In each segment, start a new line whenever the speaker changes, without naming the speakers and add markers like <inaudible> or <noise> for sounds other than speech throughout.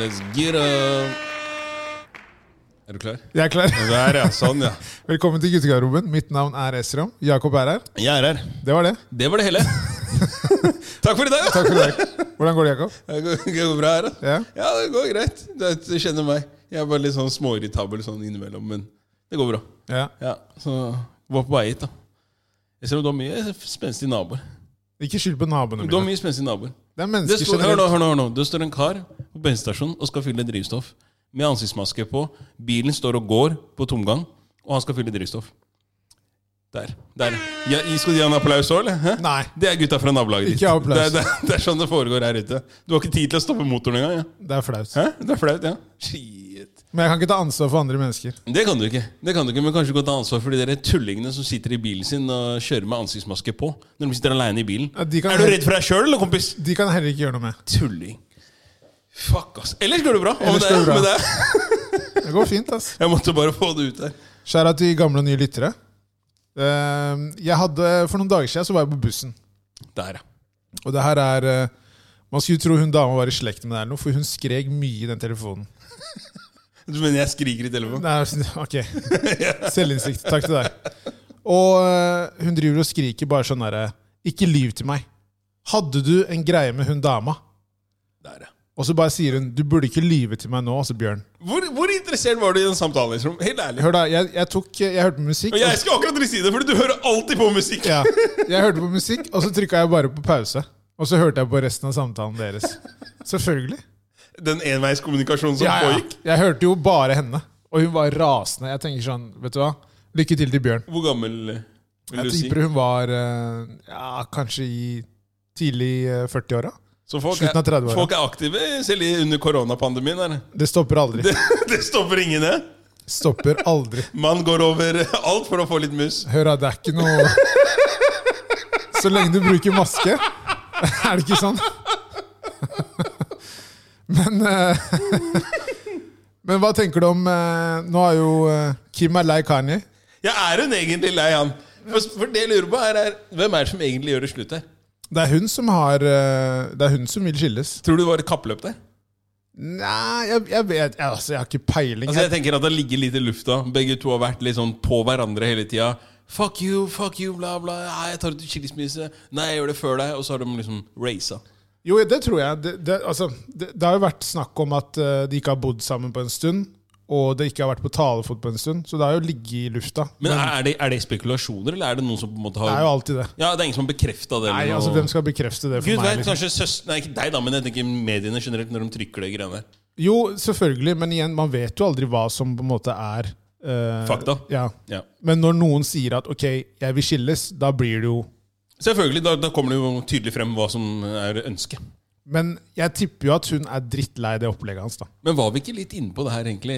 Let's get up! Er du klar?
Jeg er klar.
Der, ja. Sånn, ja.
<laughs> Velkommen til guttegarderoben. Mitt navn er Esrom. Jakob er her.
Jeg er her.
Det var det.
Det var det
<laughs>
hele. Takk for i dag.
Takk for i dag. Hvordan går det, Jakob?
Det går det går bra her, da.
Ja.
Ja, det går greit. Du vet, Du kjenner meg. Jeg er bare litt sånn småirritabel sånn innimellom, men det går bra.
ja.
Ja, Så var på vei hit, da. Jeg ser om du har mye spenstige naboer.
Ikke skyld på naboene
Du har
mine.
mye spenstige naboer.
Det er
Det
mennesker
står, hør nå,
generelt.
hør nå, hør nå. Det står en kar på bensinstasjonen og skal fylle drivstoff. Med ansiktsmaske på. Bilen står og går på tomgang, og han skal fylle drivstoff. Der. der. Ja, skal de ha en applaus òg, eller? Hæ?
Nei.
Det er gutta fra nabolaget ditt.
Ikke applaus.
Det, er- det, er- det er sånn det foregår her ute. Du har ikke tid til å stoppe motoren engang. Ja.
Det er flaut.
Hæ? Det er flaut, ja. Shit.
Men jeg kan ikke ta ansvar for andre mennesker.
Det kan du ikke. Det kan du ikke, Men kanskje du kan ta ansvar for de der tullingene som sitter i bilen sin og kjører med ansiktsmaske på når de sitter aleine i bilen.
Ja, de kan-
Er du redd for deg sjøl, eller, kompis?
De kan jeg heller ikke gjøre noe med.
Tulling. Fuck, ass. Ellers går det bra.
Ellers
Ellers
går det bra.
Men det,
Det går fint, ass.
jeg måtte bare få det ut der.
Skjæra til gamle og nye lyttere. Eh, Jeg hadde, For noen dager siden så var jeg på bussen.
Der, ja.
Og det her er eh, Man skulle tro hun dama var i slekt med deg, eller noe, for hun skrek mye i den telefonen.
Du mener jeg skriker i telefonen?
Nei,
<laughs>
ok. Selvinnsikt. Takk til deg. Og eh, hun driver og skriker bare sånn derre Ikke lyv til meg. Hadde du en greie med hun dama?
Der, ja.
Og så bare sier hun Du burde ikke lyve til meg nå, altså, Bjørn.
Hvor, hvor interessert var du i den samtalen? Liksom? Helt ærlig.
Hør da, jeg, jeg tok Jeg hørte på musikk.
Og
og-
jeg skal akkurat si det, Fordi du hører alltid på musikk.
Ja, jeg hørte på musikk, og så trykka jeg bare på pause. Og så hørte jeg på resten av samtalen deres. Selvfølgelig.
Den enveiskommunikasjonen som
Ja, ja.
pågikk.
Jeg hørte jo bare henne, og hun var rasende. Jeg tenker sånn, vet du hva Lykke til til Bjørn.
Hvor gammel eh, vil
Jeg
du si?
tipper hun var eh, ja, kanskje i tidlig eh, 40-åra.
Så folk
slutten av
er,
30-åra.
folk er aktive selv i- under koronapandemien. her. <laughs>
Det stopper aldri.
Det stopper ingen ned.
Stopper aldri.
Man går over alt for å få litt mus.
Hør da, det er ikke noe Så lenge du bruker maske, er det ikke sånn? Men eh, Men hva tenker du om eh, Nå er jo eh, Kim er lei Kanye.
Jeg er hun egentlig lei han. For, for det jeg lurer på er, er Hvem er det som egentlig gjør det slutt her?
Det er hun som har eh, Det er hun som vil skilles.
Tror du det var et kappløp der?
Nei, jeg, jeg vet jeg, altså, jeg har ikke peiling.
Altså jeg tenker at Det ligger litt i lufta. Begge to har vært litt sånn på hverandre hele tida. Fuck you, fuck you, bla, bla. Nei, jeg tar ut skilsmisse. Nei, jeg gjør det før deg. Og så har de liksom raisa.
Jo, det tror jeg. Det, det, altså, det, det har jo vært snakk om at eh, de ikke har bodd sammen på en stund. Og det ikke har vært på talefot på en stund. Så det har jo ligget i lufta.
Men er er det, er det spekulasjoner, eller er det noen som på en måte
Det
har
er jo alltid det.
Ja, det er ingen som har bekrefta det?
Nei,
eller
altså
noe?
Hvem skal bekrefte det for
Gud
meg?
vet,
Liksom?
kanskje søster... Nei, ikke deg, da, men jeg tenker mediene generelt, når de trykker det greiene der.
Jo, selvfølgelig, men igjen, man vet jo aldri hva som på en måte er eh,
Fakta.
Ja.
Ja.
Men når noen sier at 'ok, jeg vil skilles', da blir det jo
Selvfølgelig, da, da kommer det jo tydelig frem hva som er ønsket.
Men jeg tipper jo at hun er drittlei det opplegget hans, da.
Men var vi ikke litt inne på det her egentlig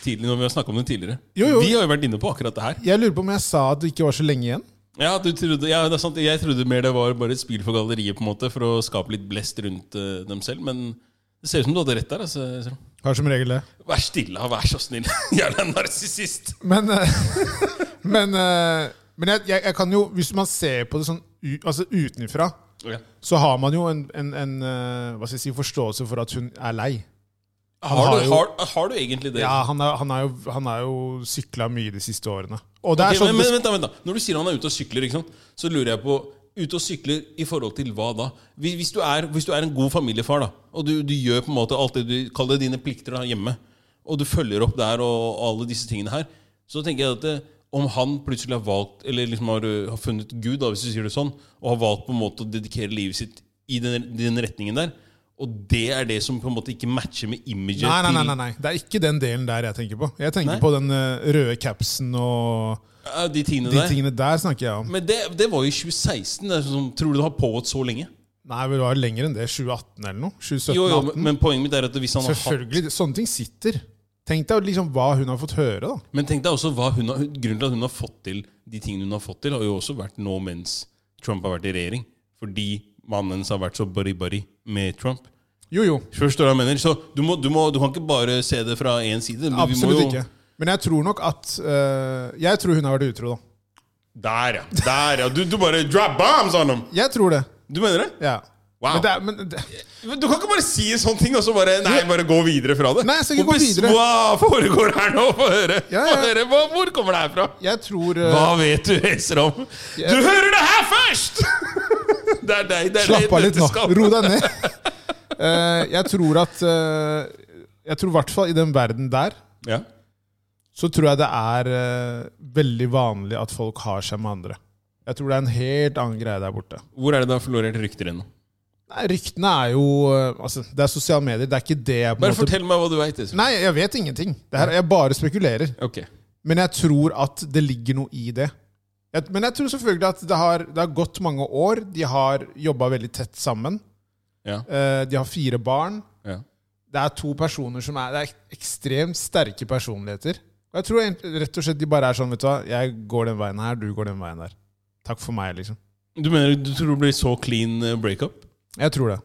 tidlig, når vi har snakket om det tidligere?
Jo, jo.
Vi har jo vært inne på akkurat det her.
Jeg lurer på om jeg sa at det ikke var så lenge igjen.
Ja, du trodde, ja, det er sant. Jeg trodde mer det var bare et spill for galleriet på en måte, for å skape litt blest rundt eh, dem selv. Men det ser ut som du hadde rett der. Altså. Esrom.
Har som regel det.
Vær stille, og vær så snill. <laughs> Jævla narsissist.
Men, eh, <laughs> men, eh, men jeg, jeg, jeg kan jo, hvis man ser på det sånn u, altså utenfra,
Ok.
så har man jo en, en, en eh, hva skal jeg si, forståelse for at hun er lei.
Har,
har
du,
jo-
har, har du egentlig det?
Ja, Han er- han har jo, han er jo sykla mye de siste årene. Og det
Ok,
er sånn,
men, men, vent, da, vent da. Når du sier han er ute og sykler, ikke sant? så lurer jeg på Ute og sykler i forhold til hva da? Hvis hvis du er, hvis du er en god familiefar, da, og du, du gjør på en måte alt det du kaller dine plikter da, hjemme, og du følger opp der og, og alle disse tingene her, så tenker jeg at det, om han plutselig har valgt, eller liksom har, ø, har funnet Gud, da, hvis du sier det sånn, og har valgt på en måte å dedikere livet sitt i den, den retningen der, og det er det som på en måte ikke matcher med imaget
nei, nei, nei,
til-
nei, nei. Det er ikke den delen der jeg tenker på. Jeg tenker
Nei?
på den eh, røde capsen og
Ja, de tingene
de
der.
tingene der snakker jeg om.
Men det, det var jo i 2016. Det er sånn, tror du det har pågått så lenge?
Nei, vel, det var lenger enn det. 2018 eller noe? 2017,
Jo, jo,
18.
men poenget mitt er at hvis han har hatt
Selvfølgelig. Sånne ting sitter. Tenk deg liksom hva hun har fått høre, da.
Men tenk deg også hva hun har, grunnen til at hun har fått til de tingene hun har fått til, har jo også vært nå mens Trump har vært i regjering. Fordi mannen hennes har vært så buddy-buddy med Trump.
Jo, jo.
Forstår du hva jeg mener? Så du, må, du, må, du kan ikke bare se det fra én side. Vi- vi må
Absolutt
jo-
ikke. Men jeg tror nok at øh, Jeg tror hun har vært utro, da.
Der, ja. Der, ja. Du, du bare drop bombs on them!
Jeg tror det.
Du mener det?
Ja.
Wow.
Men det er, men det,
Men Du kan ikke bare si en sånn ting og så bare Nei, bare gå videre fra det.
Nei, jeg skal ikke gå
Kompis,
videre.
Hva foregår her nå? Få høre.
Ja, ja.
Få høre. Hva, hvor kommer det her fra?
jeg tror eh,
Hva vet du, Eser, om? Du hører det her først! <laughs> Det er deg. det er
Slapp
deg
av litt
dette
nå.
skal-
Ro deg ned. <laughs> Eh, jeg tror at eh, Jeg tror i hvert fall i den verden der
Ja.
så tror jeg det er eh, veldig vanlig at folk har seg med andre. Jeg tror det er en helt annen greie der borte.
Hvor er det det har florert rykter ennå?
Nei, Ryktene er jo eh, Altså, det er sosiale medier. Det er ikke det jeg på en
Bare
måte
fortell meg hva du veit.
Nei, jeg vet ingenting. Det her, jeg bare spekulerer.
Ok.
Men jeg tror at det ligger noe i det. Jeg, men jeg tror selvfølgelig at det har, det har gått mange år. De har jobba veldig tett sammen.
Ja.
Eh, de har fire barn.
ja.
Det er to personer som er, det er ekstremt sterke personligheter. Og jeg tror egentlig- rett og slett de bare er sånn, vet du hva, jeg går den veien her, du går den veien der. Takk for meg, liksom.
Du mener du tror det blir så clean eh, breakup?
Jeg tror det.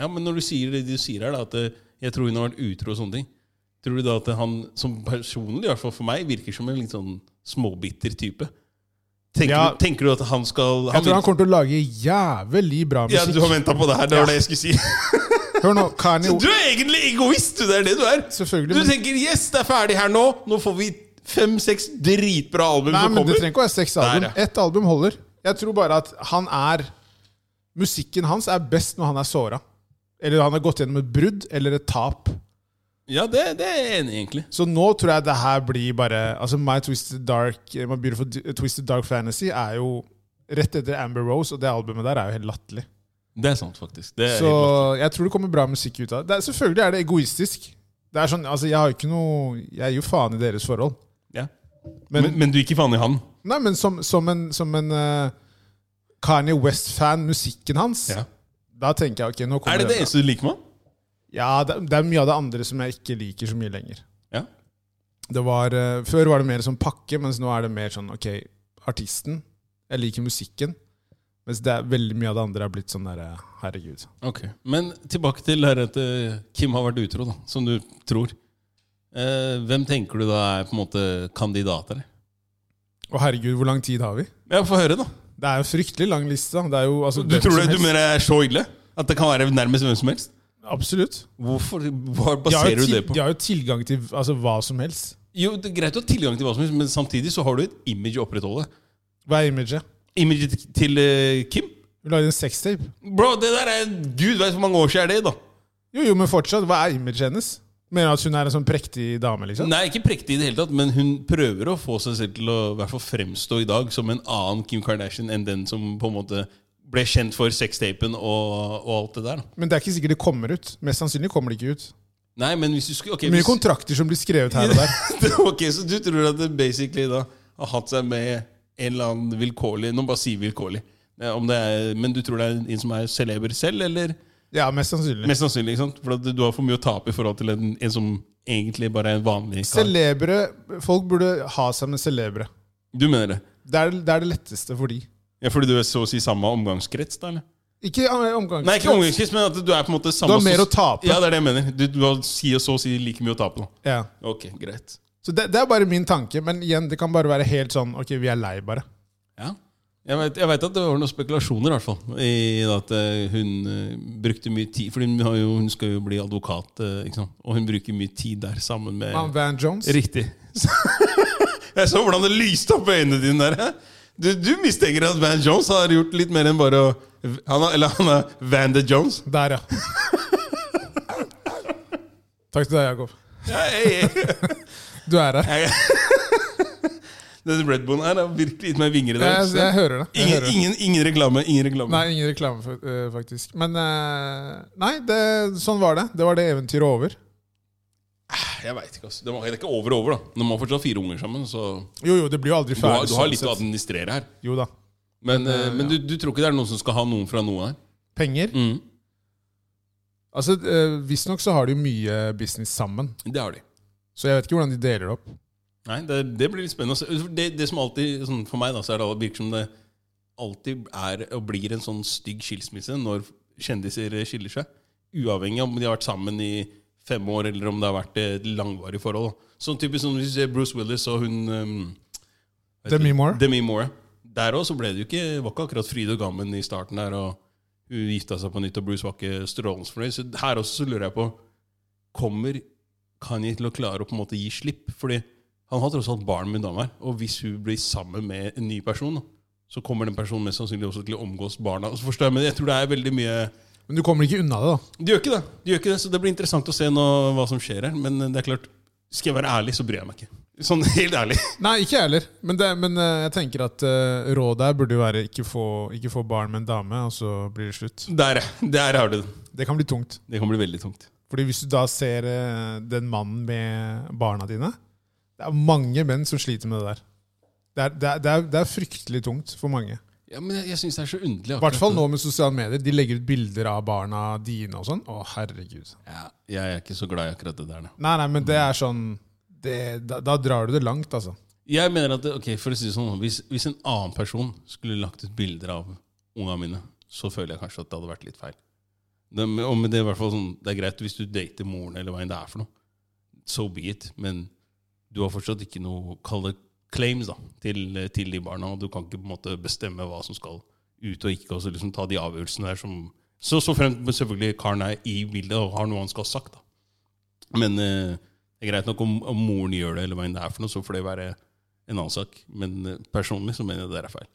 Ja, men når du sier det du sier her, da, at eh, jeg tror hun har vært utro og sånne ting, tror du da at han som personlig, i hvert fall for meg, virker som en litt sånn småbitter type? Tenker,
Ja.
du, tenker du at han skal
Jeg tror han
virker-
kommer til å lage jævlig bra
Ja, du
musikk.
har venta på det her, det var det jeg skulle si. <laughs>
Hør nå, Kanye
Du er egentlig egoist, du. Det er det du er.
Selvfølgelig.
Du
Men,
tenker 'yes, det er ferdig her nå'. Nå får vi fem-seks dritbra album
nei,
som
men det
kommer.
trenger ikke å være seks album.
Der, ja.
Ett album holder. Jeg tror bare at han er Musikken hans er best når han er såra. Eller han har gått gjennom et brudd eller et tap.
Ja, det, det er jeg enig i, egentlig.
Så nå tror jeg det her blir bare Altså My Twisted Dark My Beautiful D- Twisted Dark Fantasy er jo rett etter Amber Rose, og det albumet der er jo helt latterlig.
Det er sant, faktisk. Det er
Så
helt-
jeg tror det kommer bra musikk ut av det. det. er- Selvfølgelig er det egoistisk. Det er sånn, altså Jeg har jo ikke noe Jeg gir jo faen i deres forhold.
ja.
Men-
men, men du gikk i faen i han?
Nei, men som, som en, som en eh, Kanye West-fan, musikken hans,
Ja.
da tenker jeg ok, nå kommer
Er det det
den.
eneste du liker med han?
Ja, det, det er mye av det andre som jeg ikke liker så mye lenger.
Ja.
Det var, eh, før var det mer sånn pakke, mens nå er det mer sånn ok, artisten. Jeg liker musikken. Mens det er veldig mye av det andre er blitt sånn derre herregud.
Ok, Men tilbake til det her at eh, Kim har vært utro, da, som du tror. Eh, hvem tenker du da er på en måte kandidater?
Å herregud, hvor lang tid har vi?
Ja, Få høre, da.
Det er jo en fryktelig lang liste. da. Det er jo, altså,
Du
hvem
tror
som
det, du
helst.
mener det er så ille? At det kan være nærmest hvem som helst?
Absolutt.
Hvorfor, Hva
De har,
baserer
jo
du
til,
det på?
de har jo tilgang til altså, hva som helst.
Jo, det er Greit å ha tilgang til hva som helst, men samtidig så har du et image å opprettholde.
Hva er imaget?
Imaget til- til eh, Kim?
Vi lagde en sextape.
Bro, det der er Gud veit hvor mange år siden er det, da.
Jo, jo, men fortsatt, hva er imaget hennes? Mener du at hun er en sånn prektig dame, liksom?
Nei, ikke prektig i det hele tatt, men hun prøver å få seg selv til å i hvert fall fremstå i dag som en annen Kim Kardashian enn den som på en måte ble kjent for sextapen og, og alt det der. da.
Men det er ikke sikkert det kommer ut. Mest sannsynlig kommer det ikke ut.
Nei, men hvis du skulle ok,
Mye
hvis,
kontrakter som blir skrevet her og der.
<laughs> ok, Så du tror at det basically da har hatt seg med en eller annen vilkårlig Nå bare si vilkårlig. eh, Om det er, men du tror det er en som er celeber selv, eller?
<laughs> Ja, mest sannsynlig.
Mest sannsynlig, ikke sant? For at du har for mye å tape i forhold til en, en som egentlig bare er en vanlig kar.
Celebre, Folk burde ha seg med celebre.
Du mener det?
Det er det, er det letteste for de.
Ja, Fordi du er så å si samme omgangskrets, da? eller?
Ikke omgang.
Nei, ikke omgangskrets, men at du er på en måte samme
Du har mer
som-
å tape.
Ja, det er det jeg mener. Du, du har si og så å si like mye å tape. Da.
Ja.
Ok, greit.
Så det, det er bare min tanke. Men igjen, det kan bare være helt sånn Ok, vi er lei, bare.
Ja. Jeg vet, jeg vet at det var noen spekulasjoner, i hvert fall. I at eh, hun eh, brukte mye tid For hun, har jo, hun skal jo bli advokat, eh, ikke sant? og hun bruker mye tid der sammen med
Man Van Jones.
Riktig. <laughs> jeg så hvordan det lyste opp i øynene dine der. hæ? Du, du mistenker at Van Jones har gjort litt mer enn bare å han har, Eller han er Van de Jones. <laughs>
Der, ja. Takk til deg, Jakob.
Ja, jeg, jeg.
Du
<laughs>
er her.
Jeg- Den Red Bullen her har virkelig gitt meg vinger i dag.
Jeg, jeg hører det. Jeg
ingen,
hører det.
ingen, ingen reklame. ingen reklame
Nei, ingen reklame, fa- eh, faktisk. Men eh, Nei, det, sånn var det. Det var det eventyret over.
Jeg vet ikke, ass. Det, var, det er ikke over over, da. De har fortsatt fire unger sammen, så
Jo, jo, det blir jo aldri
du har,
ferdig.
du har
sånn
litt å
sett.
administrere her.
Jo da.
Men,
Men,
eh,
eh,
men du, du tror ikke det er noen som skal ha noen fra noe her?
Penger?
Mm.
Altså, eh, Visstnok så har de jo mye business sammen.
Det har de.
Så jeg vet ikke hvordan de deler det opp.
Nei, det, det blir litt spennende. å se. For Det, det som alltid, sånn, For meg da, så er det all- virker som det alltid er og blir en sånn stygg skilsmisse når kjendiser skiller seg. Uavhengig om de har vært sammen i fem år eller om det har vært et langvarig forhold. da. Sånn typisk som hvis du ser Bruce Willis og hun um,
Demi Moore?
Demi Moore. Der òg ble det jo ikke, var ikke akkurat fryd og gammen i starten der. og Hun gifta seg på nytt, og Bruce var ikke strålende fornøyd. Så her også så lurer jeg på Kommer Kanye til å klare å på en måte gi slipp? Fordi han har tross alt barn med en dame her. Og hvis hun blir sammen med en ny person, da, så kommer den personen mest sannsynlig også til å omgås barna. Og Så forstår jeg, men jeg tror det er veldig mye
Men du kommer ikke unna det, da.
De gjør ikke det, de gjør ikke det så det blir interessant å se nå hva som skjer her. Men eh, det er klart, skal jeg være ærlig, så bryr jeg meg ikke. Sånn <laughs> helt ærlig.
Nei, ikke jeg heller. Men, det, men eh, jeg tenker at eh, rådet her burde jo være ikke få, ikke få barn med en dame, og så blir det slutt.
Der, ja. der har du den.
Det kan bli tungt.
Det kan bli veldig tungt.
Fordi hvis du da ser eh, den mannen med barna dine Det er mange menn som sliter med det der. Det er, det er, det er, det er fryktelig tungt for mange.
Ja, men Jeg, jeg syns det er så underlig.
I hvert fall nå med sosiale medier. De legger ut bilder av barna dine og sånn. Å, herregud.
Ja, jeg er ikke så glad i akkurat det der. Da.
Nei, nei, men det er sånn det, da, da drar du det langt, altså.
Jeg mener at, det- ok, for å si det sånn, hvis, hvis en annen person skulle lagt ut bilder av unga mine, så føler jeg kanskje at det hadde vært litt feil. Det, men- og men det, er i hvert fall sånn, det er greit hvis du dater moren eller hva enn det er for noe. So be it. Men du har fortsatt ikke noe Kall det claims da, til, til de barna. Og du kan ikke på en måte bestemme hva som skal ut og ikke, og så liksom ta de avgjørelsene der som Så, så fremt men selvfølgelig karen er i bildet og har noe han skal ha sagt. da. Men eh, det er greit nok om, om moren gjør det, eller hva enn det er for noe, så får det være en annen sak. Men eh, personlig så mener jeg det der er feil.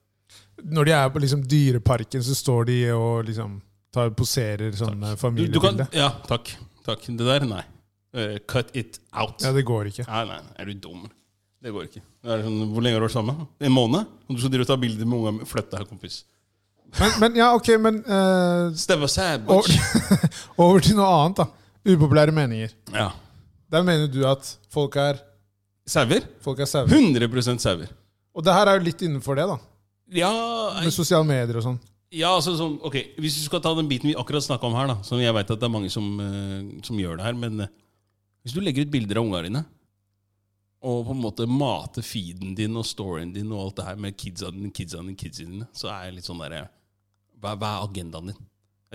Når de er på liksom dyreparken, så står de og liksom tar, poserer sånn
Du, du
eh,
kan,
familiebilde.
ja, takk. takk. Det der, nei. Eh, cut it out.
Ja, det går ikke.
Nei, nei, er du dum? Det går ikke. Det er sånn, hvor lenge har du vært sammen? En måned? Og du skal drive og ta bilder med ungene Flytt deg, kompis.
Men, men ja, ok, men eh,
Stabba seg,
over,
bitch.
over til noe annet, da. Upopulære meninger.
Ja.
Der mener du at folk er,
Sauer?
folk er sauer.
100 sauer.
Og det her er jo litt innenfor det, da.
Ja,
Med sosiale medier og sånn.
Ja, altså sånn, ok, Hvis du skal ta den biten vi akkurat snakka om her, da som jeg vet at det er mange som, eh, som gjør det her, men eh, hvis du legger ut bilder av ungene dine, og på en måte mater feeden din og storyen din og alt det her med kidsa dine, kidsa dine, kidsa dine, så er jeg litt sånn derre hva, hva er agendaen din?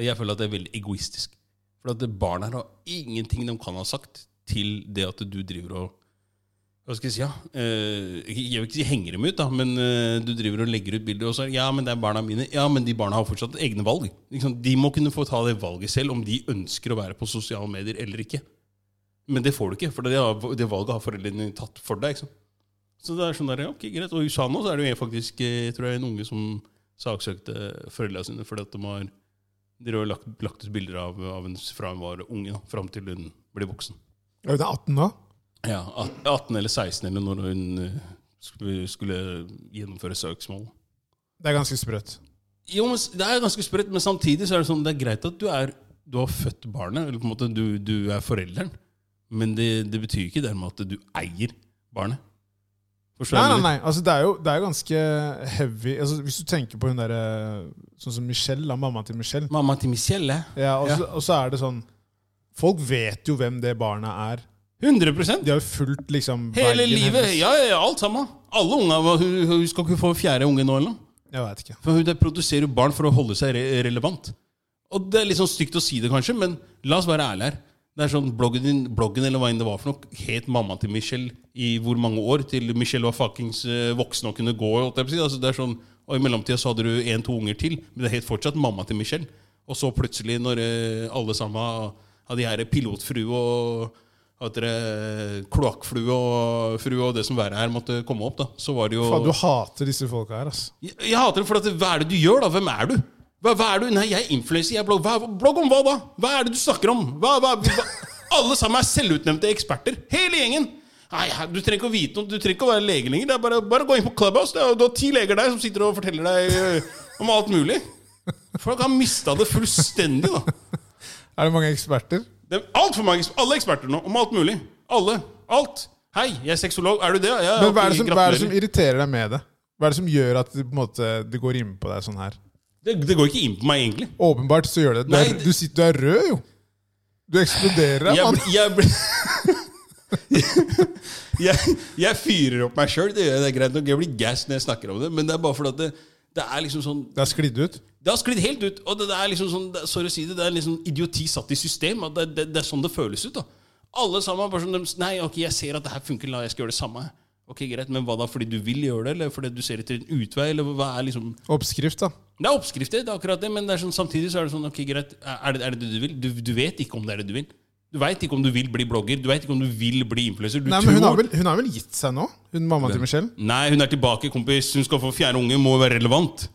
Jeg føler at det er veldig egoistisk. For at det- barna her har ingenting de kan ha sagt til det at du driver og hva skal jeg si, ja? eh, Jeg vil ikke si henger dem ut, da, men eh, du driver og legger ut bilder, og så er det, ja, men det er barna mine. Ja, men de barna har fortsatt egne valg. Ikke sant? De må kunne få ta det valget selv, om de ønsker å være på sosiale medier eller ikke. Men det får du ikke, for det, har- det valget har foreldrene dine tatt for deg. ikke sant? Så det er sånn der, ja, ok, greit. Og i USA nå så er det jo faktisk eh, jeg tror det er en unge som saksøkte foreldrene sine fordi at de har de har lagt, lagt ut bilder av, av en fra hun var unge, da, fram til hun ble voksen.
Er hun 18 nå?
Ja, at- 18 eller 16 eller når hun eh, skulle, skulle gjennomføre søksmål.
Det er ganske sprøtt.
Jo, men s- Det er ganske sprøtt, men samtidig så er det sånn, det er greit at du, er, du har født barnet, eller på en måte du, du er forelderen, men det, det betyr ikke dermed at du eier barnet. Forstår
Nei,
jeg
nei,
hva jeg
nei. Altså, det, er jo, det er jo ganske heavy altså, Hvis du tenker på hun derre Sånn som Michelle, da, mammaen til Michelle.
mener? Mamma til Michelle.
Ja, og, Så, og så er det sånn Folk vet jo hvem det barnet er.
100
De har jo fulgt liksom
Hele
veien
livet.
hennes.
Ja, ja, ja, alt sammen. Alle unga. hva- Hun, hun skal ikke få fjerde unge nå, eller noe?
Jeg vet ikke.
For hun der produserer jo barn for å holde seg re relevant. Og Det er litt sånn stygt å si det, kanskje, men la oss være ærlige her. Det er sånn Bloggen din, bloggen eller hva enn det var for noe, het mamma til Michelle i hvor mange år? Til Michelle var fuckings eh, voksen og kunne gå. holdt jeg på å si. Altså, det er sånn, og I mellomtida så hadde du én-to unger til, men det het fortsatt mamma til Michelle. Og så plutselig, når eh, alle sammen av de her pilotfrue og at dere kloakkflue og frue og det som verre er, måtte komme opp, da, så var det jo
Faen, du hater disse folka her, altså.
jeg, jeg hater det, for at, hva er det du gjør, da? Hvem er du? Hva, hva er du? Nei, jeg er influenser. Jeg er blogg. Hva, blogg om hva da? Hva er det du snakker om? Hva, hva, hva? Alle sammen er selvutnevnte eksperter. Hele gjengen. Nei, her- Du trenger ikke å vite noe, du trenger ikke å være lege lenger. Det er bare, bare gå inn på Clubhouse. Det er, du har ti leger der som sitter og forteller deg ø, om alt mulig. Folk har mista det fullstendig, da.
Er det mange eksperter?
Det er alt for mange, Alle eksperter nå, om alt mulig. Alle. Alt. Hei, jeg er sexolog. Er du det? Ja, ja,
Men hva er,
ok,
det som, hva er det som
gratulerer.
irriterer deg med det? Hva er det som gjør at det, på en måte, det går inn på deg sånn her?
det, det går ikke inn på meg, egentlig.
Åpenbart så gjør det det.
Nei,
Du, er, du, sitter, du er rød, jo! Du eksploderer.
Jeg,
mann.
bl- jeg, bl- <laughs> jeg, jeg fyrer opp meg sjøl. Det, gjør jeg, det er greit nok. Jeg blir gass når jeg snakker om det, men det er bare fordi at det, det er liksom sånn
Det er sklidd ut.
Det har sklidd helt ut. Og det, det er liksom sånn det, er- Sorry å si det, det er liksom idioti satt i system. At det, det, det er sånn det føles ut. da Alle sammen bare sånn de- Nei, ok, jeg ser at det her funker, la jeg skal gjøre det samme. Ok, greit, Men hva da? Fordi du vil gjøre det, eller fordi du ser etter en utvei? Eller hva er liksom
Oppskrift, da.
Det er oppskrifter, det er akkurat det, men det er sånn, samtidig så er det sånn Ok, greit, er det er det det du vil? Du, du vet ikke om det er det du vil. Du veit ikke om du vil bli blogger, du veit ikke om du vil bli influenser. Du
Nei,
tror
men hun har, vel, hun har vel gitt seg nå? Hun mamma til Michelle?
Nei, hun er tilbake, kompis. Hun skal få fjerde unge, må være relevant.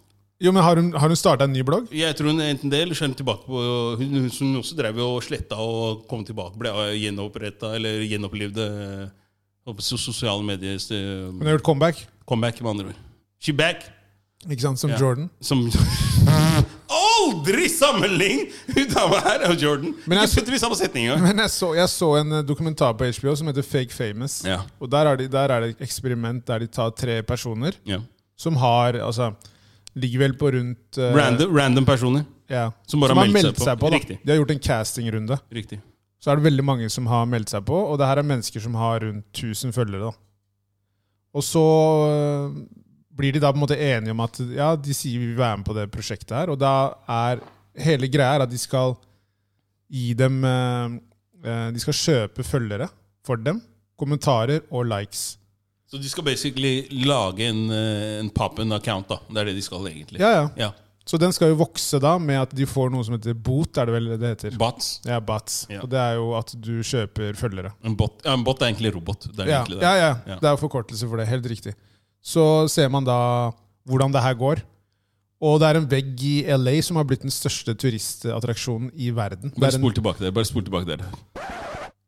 Jo, men Har hun, har hun starta en ny blogg?
Jeg tror hun er enten det, eller så er hun tilbake på Hun, hun som også drev og sletta og kom tilbake, ble gjenoppretta eller gjenopplevde eh, på sos- sosiale medier.
Hun
eh,
har gjort comeback,
Comeback, med andre ord. She back!
ikke sant, som
Ja.
Jordan.
Som <laughs> Aldri sammenlign! Hun dama her og Jordan.
Men
Ikke
jeg-
putter vi i samme setning engang.
Men jeg så, jeg så en eh, dokumentar på HBO som heter Fake Famous.
Ja.
Og der er, de, der er det et eksperiment der de tar tre personer
Ja.
som har altså, Ligger vel på rundt eh,
Random, random personer.
Ja,
Som bare har meldt seg på.
da.
Riktig.
De har gjort en castingrunde.
Riktig.
Så er det veldig mange som har meldt seg på, og det her er mennesker som har rundt 1000 følgere. da. Og så øh, blir de da på en måte enige om at ja, de sier vi vil være med på det prosjektet her. Og da er hele greia er at de skal gi dem øh, øh, De skal kjøpe følgere for dem. Kommentarer og likes.
Så de skal basically lage en, eh, en pappen account, da. Det er det de skal, egentlig.
Ja, ja.
Ja.
Så den skal jo vokse da med at de får noe som heter bot, er det vel det heter?
Bots.
Ja, bots.
Mm. Ja.
Og det er jo at du kjøper følgere.
En bot, ja, en bot er egentlig robot. Det er
Ja,
egentlig det.
ja, ja.
Ja.
det er jo forkortelse for det. Helt riktig. Så ser man da hvordan det her går. Og det er en vegg i LA som har blitt den største turistattraksjonen i verden. Det
Bare
er en,
spol tilbake der. bare spol tilbake der.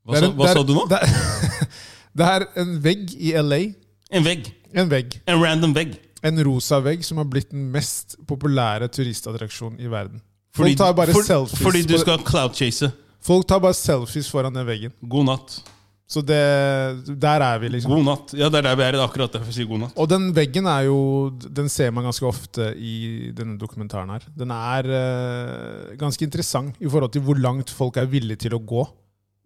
Hva,
det
sa,
er en-
hva
det er-
sa du nå?
Det er, <laughs> det er en vegg i LA.
En vegg.
En vegg.
En random vegg.
En rosa vegg som har blitt den mest populære turistattraksjonen i verden.
Fordi,
Folk tar bare
for-
selfies
fordi du
på-
skal cloud-chase.
Folk tar bare selfies foran den veggen.
God natt.
Så det, der er vi, liksom.
God natt. Ja, det er der vi er. Det er akkurat derfor jeg sier god natt.
Og den veggen er jo Den ser man ganske ofte i denne dokumentaren her. Den er eh, ganske interessant i forhold til hvor langt folk er villige til å gå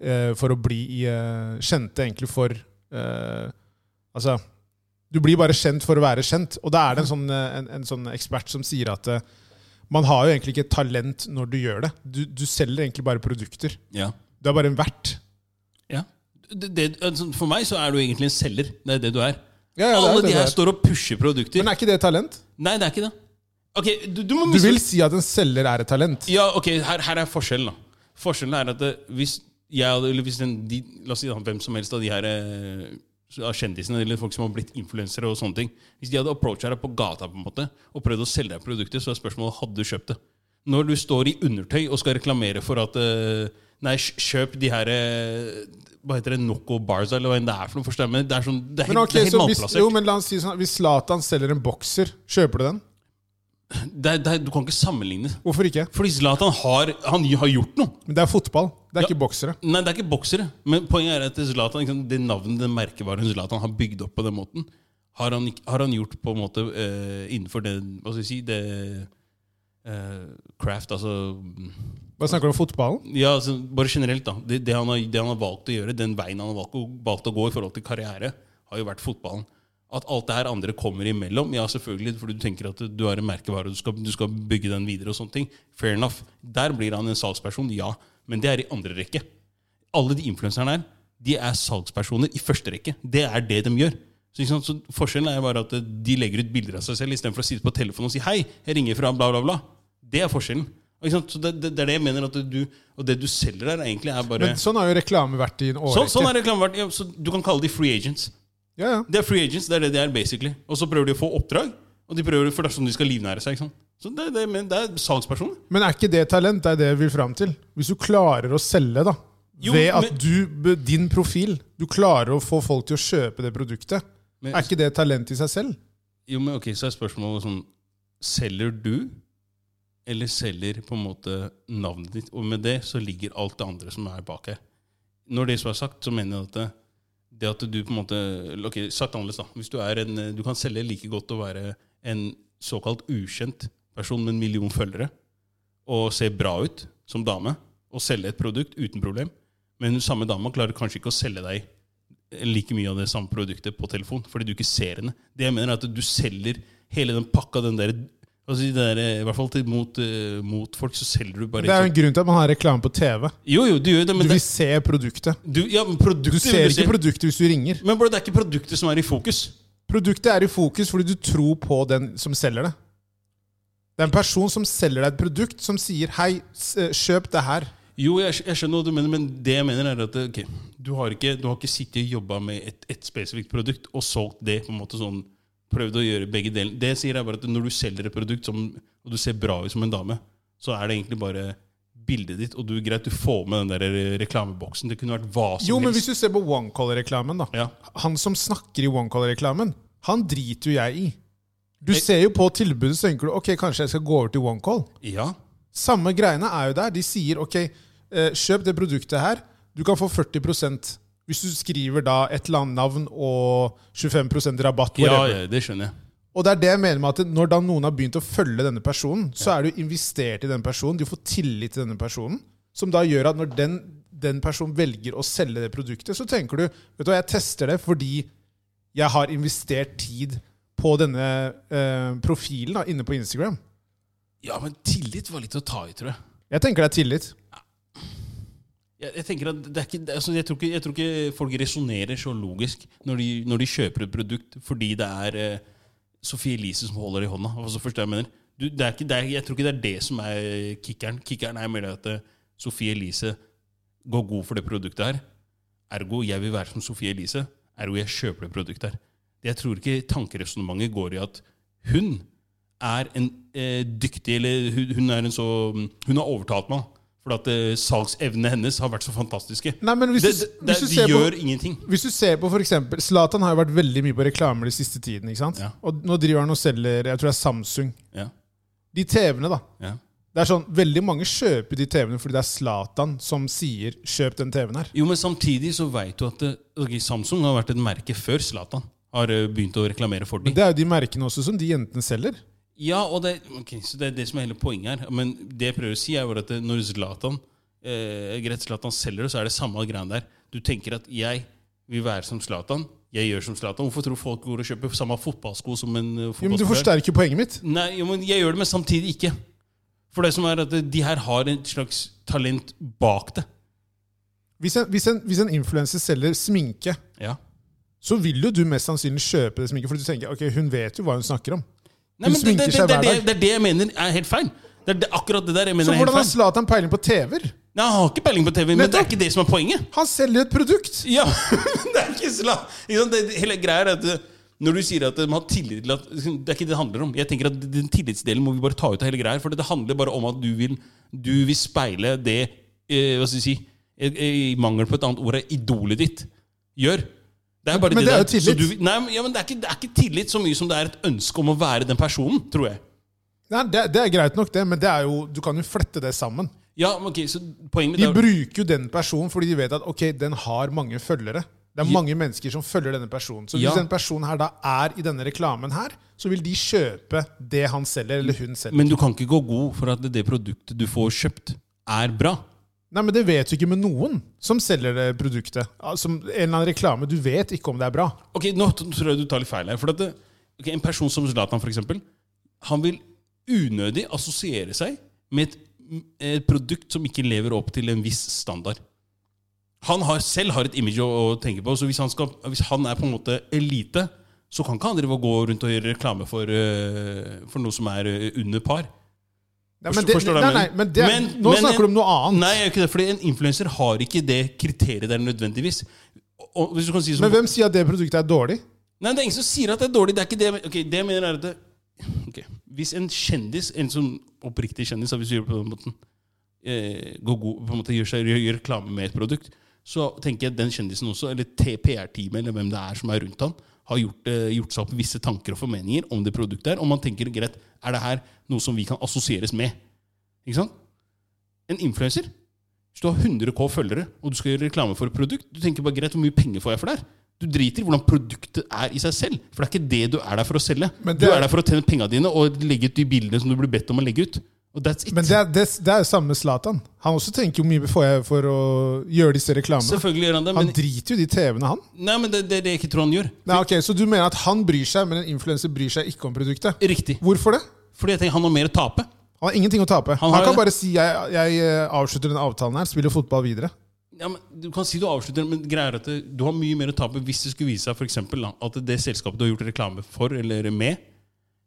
eh, for å bli eh, kjente, egentlig, for eh, Altså Du blir bare kjent for å være kjent. Og da er det en sånn, eh, en, en sånn ekspert som sier at eh, man har jo egentlig ikke et talent når du gjør det. Du, du selger egentlig bare produkter.
Ja.
Du er bare en vert.
ja. Det, det, altså, for meg så er du egentlig en selger. Det er det du er.
Ja, ja, det er
Alle
det
de
det
her
er.
står og pusher produkter.
Men er ikke det et talent?
Nei, det er ikke det. Ok, du, du må
Du
miste
vil si at en selger er et talent?
Ja, ok, her, her er forskjellen da Forskjellen er at eh, hvis jeg hadde, eller hvis den, de, la oss si da, hvem som helst av de her eh, av kjendisene, eller folk som har blitt influensere og sånne ting, hvis de hadde approachet deg på gata på en måte, og prøvd å selge deg produktet, så er spørsmålet, hadde du kjøpt det? Når du står i undertøy og skal reklamere for at, eh, nei, kj- kjøp de her, eh, hva heter det, Nocco Bars, eller hva enn det er for noe, forstår jeg, men det er sånn, det er
Men
helt,
ok,
det er helt
så hvis,
malplassert.
jo, men la oss si sånn, hvis Zlatan selger en bokser, kjøper du den?
Det er, det er, du kan ikke sammenligne.
Hvorfor ikke?
Fordi Zlatan har, han har gjort noe.
Men det er fotball, det er
Ja.
ikke boksere.
Nei, det er ikke boksere. Men poenget er at Zlatan, liksom, det navnet, den merkevaren Zlatan har bygd opp på den måten, har han, ikk- har han gjort på en måte eh, innenfor det Hva skal vi si Det eh, craft, altså mm,
Hva snakker du om fotballen?
Ja, altså, bare generelt, da. Det, det, han har, det han har valgt å gjøre, den veien han har valgt, å- valgt å gå i forhold til karriere, har jo vært fotballen. At alt det her andre kommer imellom, ja, selvfølgelig, fordi du tenker at du har en merkevare og du skal, du skal bygge den videre og sånne ting. Fair enough. Der blir han en salgsperson, ja. Men det er i andre rekke alle de influenserne her, de er salgspersoner i første rekke. Det er det de gjør. Så, ikke sant? så Forskjellen er bare at de legger ut bilder av seg selv istedenfor å sitte på telefonen og si 'hei, jeg ringer fra bla, bla, bla'. Det er forskjellen. Ikke sant? Så det, det, det er det jeg mener at du Og det du selger der, egentlig er bare
Men sånn har jo reklame vært i en
sånn,
årrekke.
sånn er reklamen vært. Ja, så du kan kalle de free agents.
Ja, ja.
Det er free agents, det er det de er, basically. Og så prøver de å få oppdrag, og de prøver for det er sånn de skal livnære seg. ikke sant? Så det, det, men det er salgspersoner.
Men er ikke det talent? Det er det jeg vil fram til. Hvis du klarer å selge, da.
Jo,
ved at
men-
du, be- din profil, du klarer å få folk til å kjøpe det produktet.
Men-
Er ikke det talent i seg selv?
Jo, men ok, så er spørsmålet sånn Selger du, eller selger på en måte navnet ditt? Og med det så ligger alt det andre som er bak her. Når det så er sagt, så mener jeg at det, det at du på en måte Ok, sagt annerledes, da. Hvis du er en Du kan selge like godt å være en såkalt ukjent person med en million følgere og se bra ut som dame og selge et produkt uten problem, men den samme dama klarer kanskje ikke å selge deg like mye av det samme produktet på telefon, fordi du ikke ser henne. Det jeg mener er at du selger hele den pakka, den der, altså de der eh, I hvert fall til, mot, eh, mot folk, så selger du bare
Det er jo en grunn til at man har reklame på TV.
Jo, jo, du gjør det,
Du
men
vil
det,
se produktet.
du, ja, men produktet
Du ser
vil se.
ikke produktet hvis du ringer.
Men bro, det er ikke produktet som er i fokus.
Produktet er i fokus fordi du tror på den som selger det. Det er en person som selger deg et produkt, som sier 'hei, s- eh, kjøp det her'.
Jo, jeg, skj- jeg skjønner hva du mener, men det jeg mener er at ok, du, har ikke, du har ikke sittet og jobba med et, et spesifikt produkt og solgt det. på en måte sånn, Prøvd å gjøre begge deler. Det jeg sier er bare at Når du selger et produkt som, og du ser bra ut som en dame, så er det egentlig bare bildet ditt, og du greit, du får med den der reklameboksen. Det kunne vært hva som
Jo, men hvis
helst.
du ser på OneColor-reklamen, da.
Ja.
Han som snakker i OneColor-reklamen, han driter jo jeg i. Du ser jo på tilbudet, så tenker du ok, kanskje jeg skal gå over til OneCall.
ja.
Samme greiene er jo der. De sier ok, eh, kjøp det produktet her. Du kan få 40 hvis du skriver da et eller annet navn og 25 rabatt.
Ja,
whatever.
ja, det skjønner jeg.
Og det er det jeg mener med at når da noen har begynt å følge denne personen, så er du investert i denne personen. Du får tillit til denne personen, som da gjør at når den, den personen velger å selge det produktet, så tenker du vet du hva, jeg tester det fordi jeg har investert tid på denne eh, profilen da, inne på Instagram.
Ja, men tillit var litt å ta i, tror jeg.
Jeg tenker det er tillit.
Jeg, jeg tenker at det er ikke, det er- altså jeg, tror ikke, jeg tror ikke folk resonnerer så logisk når de, når de kjøper et produkt fordi det er eh, Sophie Elise som holder det i hånda. Altså først jeg mener du, det er ikke, det er, Jeg tror ikke det er det som er kickeren. Kickeren er mer det at eh, Sophie Elise går god for det produktet her. Ergo jeg vil være som Sophie Elise. Ergo jeg kjøper det produktet her. Jeg tror ikke tankeresonnementet går i at hun er en eh, dyktig Eller hun, hun er en så Hun har overtalt meg. For at eh, salgsevnene hennes har vært så fantastiske.
Nei, men hvis
det,
du-
det, det,
hvis du
de
ser på-
gjør ingenting.
Hvis du ser på for eksempel, Zlatan har jo vært veldig mye på reklamer de siste tiden. ikke sant?
Ja.
Og nå driver han og selger jeg tror det er Samsung.
Ja,
De TV-ene, da.
ja.
Det er sånn, Veldig mange kjøper de TV-ene fordi det er Zlatan som sier 'kjøp den TV-en her'.
Jo, men samtidig så vet du at eh, ok, Samsung har vært et merke før Zlatan har eh, begynt å reklamere for dem.
Det er jo de merkene også som de jentene selger.
Ja, og det, ok, så det er det som er hele poenget her. Men det jeg prøver å si, er jo at det- når Zlatan eh, greit Zlatan selger det, så er det samme greia der. Du tenker at jeg vil være som Zlatan. Jeg gjør som Zlatan. Hvorfor tror folk går og kjøper samme fotballsko som en eh,
Jo, men Du
fotballspiller?
forsterker jo poenget mitt.
Nei, jo, men jeg gjør det, men samtidig ikke. For det som er at eh, de her har et slags talent bak det.
Hvis en, hvis en, hvis en influenser selger sminke,
Ja.
så vil jo du mest sannsynlig kjøpe det sminket. For du tenker ok, hun vet jo hva hun snakker om.
Nei, men
Hun
det, det,
sminker
det,
seg
det, det,
hver dag.
det er det jeg mener er helt feil. Det er det, akkurat det der jeg mener
Så
er helt
hvordan har
feil.
Zlatan peiling på TV-er?
Nei, Han har ikke peiling på TV, men det er
Nettopp.
ikke det som er poenget.
Han selger jo et produkt!
Ja, <laughs> men det er ikke sla... Ikke sant? Det, hele greia er at eh, når du sier at eh, man har tillit til at Det er ikke det det handler om. Jeg tenker at Den tillitsdelen må vi bare ta ut av hele greia. her, For det handler bare om at du vil, du vil speile det eh, Hva skal jeg si eh, eh, I mangel på et annet ord er idolet ditt gjør. Det er bare
Men det er jo
der. Så
tillit.
Du, nei, men- ja, men det er, ikke, det er ikke tillit så mye som det er et ønske om å være den personen, tror jeg.
Nei, det, det er greit nok, det, men det er jo, du kan jo flette det sammen.
Ja, men ok, så poenget
De
mitt er
bruker jo den personen fordi de vet at ok, den har mange følgere. Det er mange mennesker som følger denne personen. Så hvis
Ja.
den personen her da er i denne reklamen her, så vil de kjøpe det han selger, eller hun selger.
Men du kan ikke gå god for at det produktet du får kjøpt, er bra.
Nei, men det vet du ikke med noen som selger det produktet. Ja, Som en eller annen reklame. Du vet ikke om det er bra.
Ok, Nå t- tror jeg du tar litt feil her. For at det, ok, En person som Zlatan, for eksempel, han vil unødig assosiere seg med et, et produkt som ikke lever opp til en viss standard. Han har, selv har et image å, å tenke på, så hvis han, skal, hvis han er på en måte elite, så kan ikke han drive og gå rundt og gjøre reklame for, eh, for noe som er eh, under par.
Nei,
Forstår-
men det,
forstår du hva
nei,
jeg
nei,
mener?
men det,
Men-
nå
men-
snakker du om noe annet.
Nei, jeg gjør ikke det, fordi en influenser har ikke det kriteriet der nødvendigvis. Og- Og hvis du kan si som,
Men hvem sier at det produktet er dårlig?
Nei, Det er ingen som sier at det er dårlig. Det er ikke det, jeg men- ok, det jeg mener er at det, ok, Hvis en kjendis, en sånn oppriktig kjendis, da, hvis du gjør det på den måten, eh, går god, på en måte gjør, seg, gjør, gjør reklame med et produkt, så tenker jeg at den kjendisen også, eller PR-teamet, eller hvem det er som er rundt han, har gjort, eh, gjort seg opp visse tanker og formeninger om det produktet her. Og man tenker greit, er det her noe som vi kan assosieres med? Ikke sant? En influenser hvis du har 100K følgere, og du skal gjøre reklame for et produkt, du tenker bare greit, hvor mye penger får jeg for det her? Du driter i hvordan produktet er i seg selv. For det er ikke det du er der for å selge.
Men
Du
det er-
er der for å tjene pengene dine og legge ut de bildene som du blir bedt om å legge ut. Og that's it.
Men det er, det, det er jo samme med Zlatan. Han også tenker jo hvor mye får jeg for å gjøre disse reklamene.
Selvfølgelig gjør han det,
Han
men,
driter jo i de TV-ene, han.
nei, men det det er det jeg ikke tror han gjør.
Nei, ok, Så du mener at han bryr seg, men en influenser bryr seg ikke om produktet?
Riktig.
Hvorfor det?
Fordi jeg tenker han har mer å tape.
Han har ingenting å tape. Han,
har
kan
det.
bare si jeg, jeg eh, avslutter denne avtalen her, spiller fotball videre.
Ja, men du kan si du avslutter, men greia er at det- du har mye mer å tape hvis det skulle vise seg for eksempel, da, at det selskapet du har gjort reklame for eller med,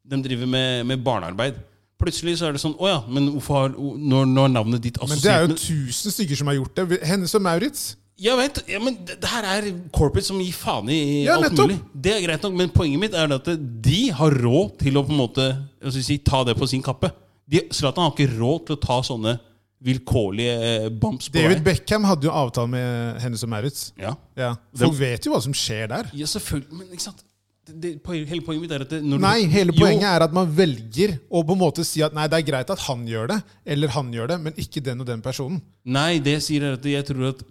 de driver med, med barnearbeid. For plutselig så er det sånn Å ja, men hvorfor har o- Når, når navnet ditt
Men det
assosiert
er jo
med
tusen stykker som har gjort det. Hennes og Maurits.
Jeg vet, ja, men det, det her er corporate som gir faen i
Ja,
alt
nettopp.
mulig. Det er greit nok, men poenget mitt er at de har råd til å på en måte hva skal jeg si, ta det på sin kappe. De- Zlatan har ikke råd til å ta sånne vilkårlige eh, bumps på
David
vei.
Beckham hadde jo avtale med Hennes og Maurits.
Ja.
Ja. Folk vet jo hva som skjer der.
ja, selvfølgelig. Men ikke sant? Det, det, poen- hele poenget mitt er at det, når
Nei,
du,
hele
Jo,
poenget er at man velger å på en måte si at nei, det er greit at han gjør det, eller han gjør det, men ikke den og den personen.
Nei, det jeg sier er at jeg tror at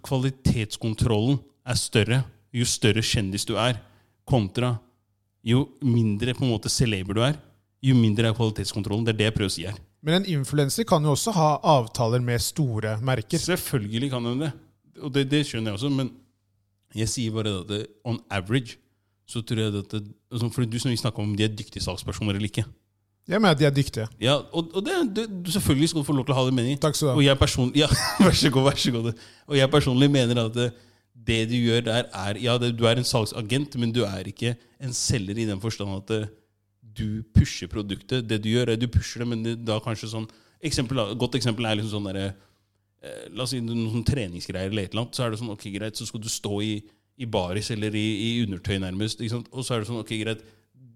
kvalitetskontrollen er større jo større kjendis du er, kontra jo mindre på en måte celeber du er, jo mindre er kvalitetskontrollen. Det er det jeg prøver å si her.
Men en influenser kan jo også ha avtaler med store merker.
Selvfølgelig kan hun det. Og det, det skjønner jeg også, men jeg sier bare det at det, on average så tror jeg det at det, altså, For du snakker om de er dyktige salgspersoner eller ikke.
Jeg mener at de er dyktige.
Ja, og, og det, det, du selvfølgelig skal du få lov til å ha det meningen.
Takk skal du
Og
ha.
jeg personlig Ja, <laughs> vær så god, vær så god. Og jeg personlig mener at det, det du gjør der, er Ja, det, du er en salgsagent, men du er ikke en selger i den forstand at det, du pusher produktet. Det du gjør, er du pusher det, men det, da kanskje sånn eksempel, da, Godt eksempel er liksom sånn derre eh, La oss si noen sånn treningsgreier eller et eller annet. Så er det sånn, ok, greit, så skal du stå i, i baris eller i, i undertøy nærmest. Ikke sant? Og så er det sånn, ok, greit,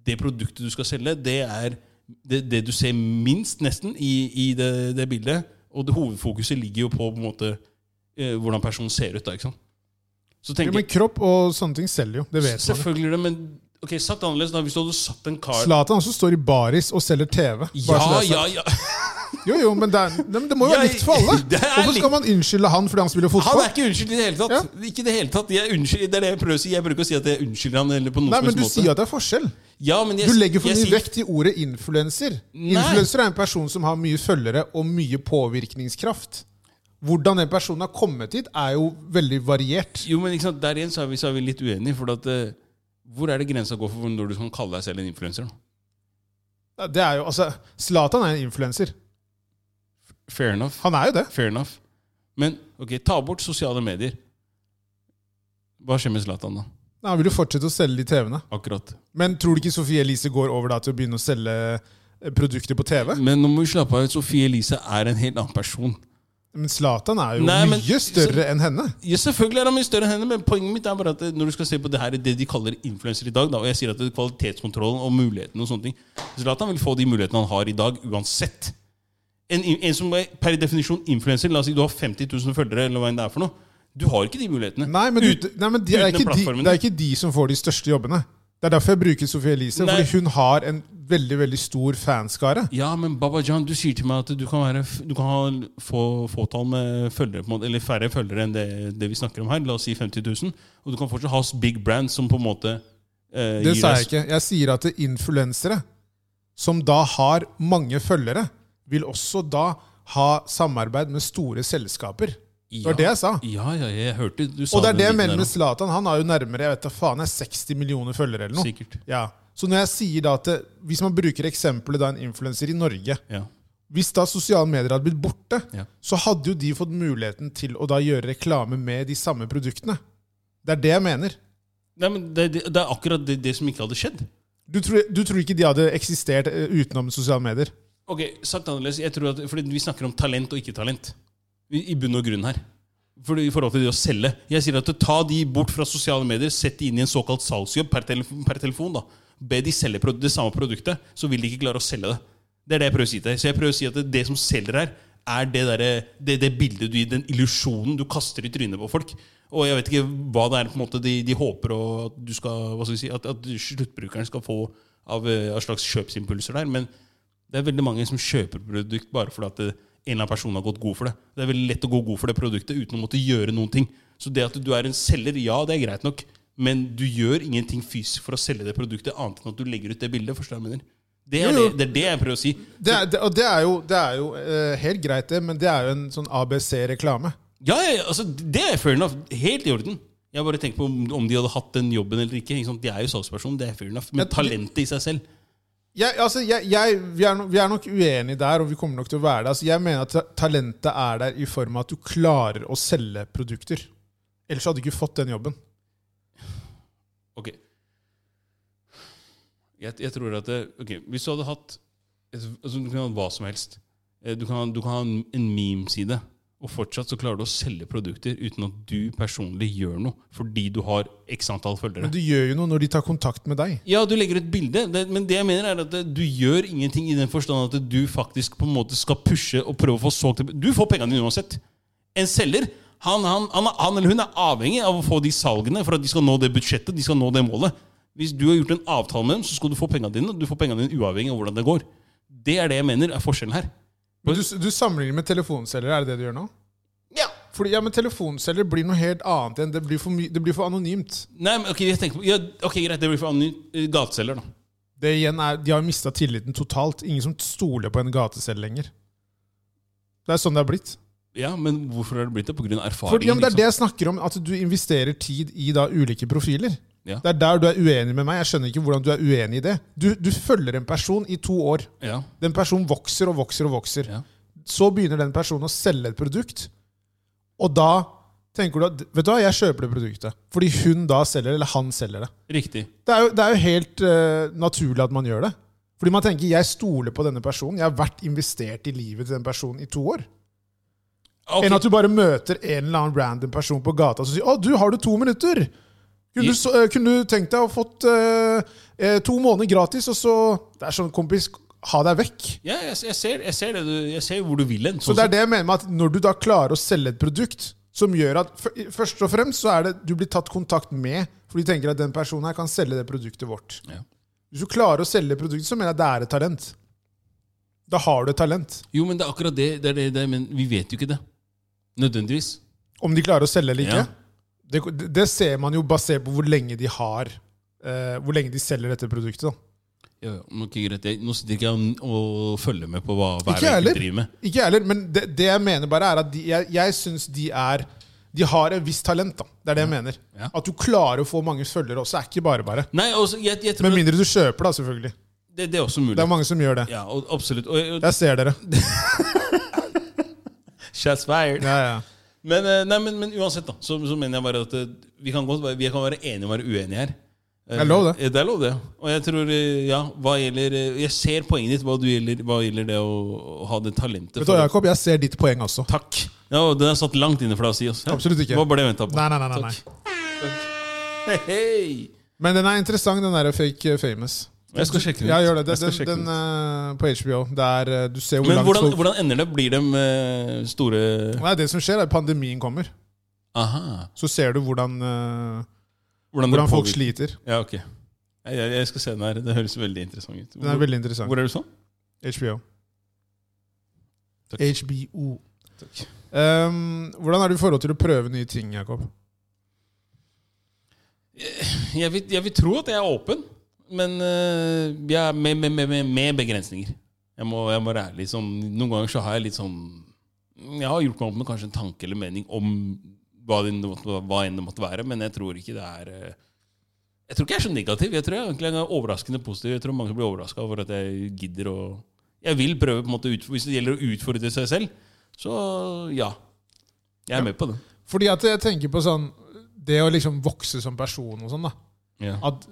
det produktet du skal selge, det er det, det du ser minst, nesten, i, i det, det bildet. Og det hovedfokuset ligger jo på på en måte eh, hvordan personen ser ut. da, ikke sant? Så
Ja,
tenker
men kropp og sånne ting selger jo. Det
jeg,
vet man.
selvfølgelig det, men ok, satt annerledes da, hvis du hadde satt en kar
Zlatan også står i baris og selger TV.
Ja,
Bare så det er sagt.
ja, ja.
Jo, jo, men det, er, Nei, men det må jo være
Jeg-
likt for alle!
<laughs> Det er
Hvorfor
likt.
skal man unnskylde han fordi han spiller
Han
fotball?
er ikke unnskyldt i det hele tatt. Ikke i Det hele tatt Jeg unnskylder, det er det jeg prøver å si. Jeg bruker å si at jeg unnskylder han. Eller på noen
Nei,
som
men
helst
Du
måte.
sier at det er forskjell.
ja, men jeg,
Du legger for
jeg
mye
sier-
vekt i ordet influenser.
Nei.
Influenser er en person som har mye følgere og mye påvirkningskraft. Hvordan den personen har kommet hit, er jo veldig variert.
Jo, men ikke sant, Der igjen så er vi, så er vi litt uenige. For at, eh, hvor er det grensa går for når du kan kalle deg selv en influenser? da?
Det er jo, altså, Zlatan er en influenser.
Fair enough.
Han er jo det.
Fair enough. Men ok, ta bort sosiale medier. Hva skjer med Zlatan, da?
Nei, Han vil jo fortsette å selge de TV-ene.
Akkurat.
Men tror du ikke Sofie Elise går over da til å begynne å selge eh, produkter på TV?
Men nå må vi slappe av. Sofie Elise er en helt annen person.
Men Zlatan er jo
Nei, men-
mye større enn henne.
Ja, selvfølgelig er han mye større enn henne, men poenget mitt er bare at når du skal se på det her, det de kaller influenser i dag, da, og jeg sier at det er kvalitetskontrollen og mulighetene og sånne ting Zlatan vil få de mulighetene han har i dag, uansett. En, en som er per definisjon influenser, la oss si du har 50 000 følgere, eller hva enn det er for noe, du har ikke de mulighetene.
Nei, men, du, nei, men de, det, er
utenom
ikke de,
plattformene.
det er ikke de som får de største jobbene. Det er derfor jeg bruker Sofie Elise,
Nei.
fordi hun har en veldig veldig stor fanskare.
Ja, men Babajan, du sier til meg at du kan, være, f- du kan ha l- få fåtall med følgere, på en måte, eller færre følgere enn det, det vi snakker om her, la oss si 50 000, og du kan fortsatt ha s- big brands som på en måte eh,
Det
gir
sa
deg
jeg ikke. Jeg sier at det er influensere, som da har mange følgere, vil også da ha samarbeid med store selskaper. Det var det jeg sa.
Ja, ja, jeg hørte du sa
Og det er det jeg
litt
mener
der
med Zlatan. Han har jo nærmere jeg vet da faen, jeg er 60 millioner følgere eller
også.
noe.
Sikkert.
Ja. Så når jeg sier da at det, hvis man bruker eksempelet da en influenser i Norge
Ja.
Hvis da sosiale medier hadde blitt borte,
Ja.
så hadde jo de fått muligheten til å da gjøre reklame med de samme produktene. Det er det jeg mener.
Nei, men det, det, det er akkurat det, det som ikke hadde skjedd.
Du tror, du tror ikke de hadde eksistert eh, utenom sosiale medier?
Ok, sagt annerledes, jeg tror at, fordi Vi snakker om talent og ikke-talent i, i bunn og grunn her. For, I forhold til det å selge. Jeg sier at Ta de bort fra sosiale medier, sett de inn i en såkalt salgsjobb per, telef per telefon. da. Be de selge produ- det samme produktet, så vil de ikke klare å selge det. Det er det jeg prøver å si til deg. Så jeg prøver å si at det, det som selger her, er det, derre- det, det bildet du gir, den illusjonen du kaster i trynet på folk. Og jeg vet ikke hva det er på en måte de, de håper å, at, du skal, hva skal vi si, at, at sluttbrukeren skal få av, eh, av slags kjøpsimpulser der. Men det er veldig mange som kjøper produkt bare fordi at det- en eller annen person har gått god for det. Det er veldig lett å gå god for det produktet uten å måtte gjøre noen ting. Så det at du er en selger, ja, det er greit nok, men du gjør ingenting fysisk for å selge det produktet, annet enn at du legger ut det bildet. Forstår du hva jeg mener? Det er
Jo, jo.
det, det, er det jeg prøver å si.
Det er, det, og det er jo, det er jo eh, helt greit, det, men det er jo en sånn ABC-reklame.
Ja, ja, ja, altså, det er fair enough. Helt i orden. Jeg bare tenker på om, om de hadde hatt den jobben eller ikke. ikke sant? De er jo salgsperson, det er fair enough. Men
Ja, det-
talentet i seg selv
Jeg, altså, jeg, jeg, vi, er no, vi er nok uenige der, og vi kommer nok til å være det. Altså, jeg mener at ta- talentet er der i form av at du klarer å selge produkter. Ellers hadde du ikke fått den jobben.
Ok. Jeg, jeg tror at det, ok, Hvis du hadde hatt altså, Du kan ha hva som helst. Eh, Du kan, ha- du kan ha en- en memeside, og fortsatt så klarer du å selge produkter uten at du personlig gjør noe, fordi du har x antall følgere.
Men du gjør jo noe når de tar kontakt med deg.
Ja, du legger ut bilde, det, men det jeg mener er at det- du gjør ingenting i den forstand at du faktisk på en måte skal pushe og prøve å få solgt det. Du får pengene dine uansett. En selger, han, han, han, han eller hun er avhengig av å få de salgene for at de skal nå det budsjettet, de skal nå det målet. Hvis du har gjort en avtale med dem, så skal du få pengene dine. og Du får pengene dine uavhengig av hvordan det går. Det er det jeg mener er forskjellen her.
Men du, du sammenligner med telefonselgere, er det det du gjør nå?
Ja.
Fordi, ja, men telefonselger blir noe helt annet enn Det blir for, my det blir for anonymt.
Nei, men ok, jeg tenker på, ja, ok, greit, det blir for anonym eh, gateselger, da.
Det igjen er, De har mista tilliten totalt. Ingen som stoler på en gateselger lenger. Det er sånn det er blitt.
Ja, men hvorfor har det blitt det? På grunn av erfaring?
Fordi, ja, men det er
liksom.
det jeg snakker om, at du investerer tid i da ulike profiler.
Ja.
Det er der du er uenig med meg. Jeg skjønner ikke hvordan du er uenig i det. Du, du følger en person i to år.
Ja,
Den personen vokser og vokser og vokser.
ja.
Så begynner den personen å selge et produkt, og da tenker du at Vet du hva, jeg kjøper det produktet. Fordi hun da selger det, eller han selger det.
Riktig.
Det er jo, det er jo helt eh, naturlig at man gjør det. Fordi man tenker 'jeg stoler på denne personen', jeg har vært investert i livet til den personen i to år.
Ok.
Enn at du bare møter en eller annen random person på gata som sier 'Å, du, har du to minutter?' Kunne, du, så- eh, kunne du tenkt deg å fått eh, eh, to måneder gratis, og så Det er sånn, kompis, ha deg vekk.
Ja, jeg, jeg, ser, jeg, ser det, du, jeg ser hvor du vil hen.
Så
Sånn
det er det jeg mener med at når du da klarer å selge et produkt som gjør at f- først og fremst så er det du blir tatt kontakt med, for de tenker at den personen her kan selge det produktet vårt.
sett. Ja.
Hvis du klarer å selge produktet, så mener jeg det er et talent. Da har du et talent.
Jo, men det er akkurat det. det, er det, det er- men vi vet jo ikke det. Nødvendigvis.
Om de klarer å selge eller ikke.
Ja.
Det, det ser man jo basert på hvor lenge de har eh, Hvor lenge de selger dette produktet. da.
Ja, ja, men ok, greit. Jeg, nå sitter ikke jeg og- og følger med på hva
Ikke
hver
jeg heller.
enkelt driver med.
Ikke jeg heller, men det, det jeg mener bare er at de, jeg, jeg syns de er De har et visst talent. da. Det er det jeg mener.
Ja.
At du klarer å få mange følgere også, er ikke bare bare.
Nei, også, jeg, jeg tror
Med
at
mindre du kjøper, da, selvfølgelig.
det, det er også mulig.
Det er mange som gjør det.
Ja, og, absolutt. Og, og,
Jeg ser dere.
Shots fired.
Ja,
<laughs>
ja.
Men, eh, nei, men, men uansett, da, så, så mener jeg bare at eh, vi kan, godt, være- vi kan være enige og være uenige her. Eh,
Det er lov, det.
eh, Det er lov, det. Og jeg tror, eh, ja, hva gjelder eh, Jeg ser poenget ditt hva, du gjelder, hva gjelder det å, å ha det talentet.
Vet du
for-
hva, Jakob, jeg ser ditt poeng også.
Takk. Ja, og Den er satt langt inne for deg å si. Oss.
Absolutt ikke.
Det var bare det jeg ventet på.
Nei, nei, nei, nei, nei.
Hei, hei.
Men den er interessant, den der fake eh, famous.
Jeg skal sjekke den ut.
Ja, gjør det.
Jeg
Den,
skal
den,
sjekke
den
den
eh, på HBO. Der, eh, du ser hvor
Men
langt
hvordan,
folk-
hvordan ender det? Blir de eh, store
Nei, det som skjer er at pandemien kommer.
Aha.
Så ser du hvordan, eh,
Hvordan, det
hvordan folk
påvirker-
sliter.
Ja, ok. Jeg, jeg, jeg skal se den her. Det høres veldig interessant ut.
Den er
Hvor,
veldig interessant.
hvor er du sånn?
HBO.
Takk.
HBO.
Takk.
Um, hvordan er du i forhold til å prøve nye ting, Jakob?
Jeg vil, jeg vil tro at jeg er åpen, men eh, jeg er med, med, med, med, med begrensninger. Jeg må, jeg må være ærlig. Sånn, noen ganger så har jeg litt sånn Jeg har gjort meg opp med kanskje en tanke eller mening om hva, det måtte, hva enn det måtte være, men jeg tror ikke det er eh, Jeg tror ikke jeg er så negativ. Jeg tror jeg egentlig er overraskende positiv. Jeg tror mange blir overraska over at jeg gidder å Jeg vil prøve på en måte ut, Hvis det gjelder å utfordre seg selv, så ja. Jeg er med på det.
Fordi at jeg tenker på sånn Det å liksom vokse som person og sånn, da.
Ja.
At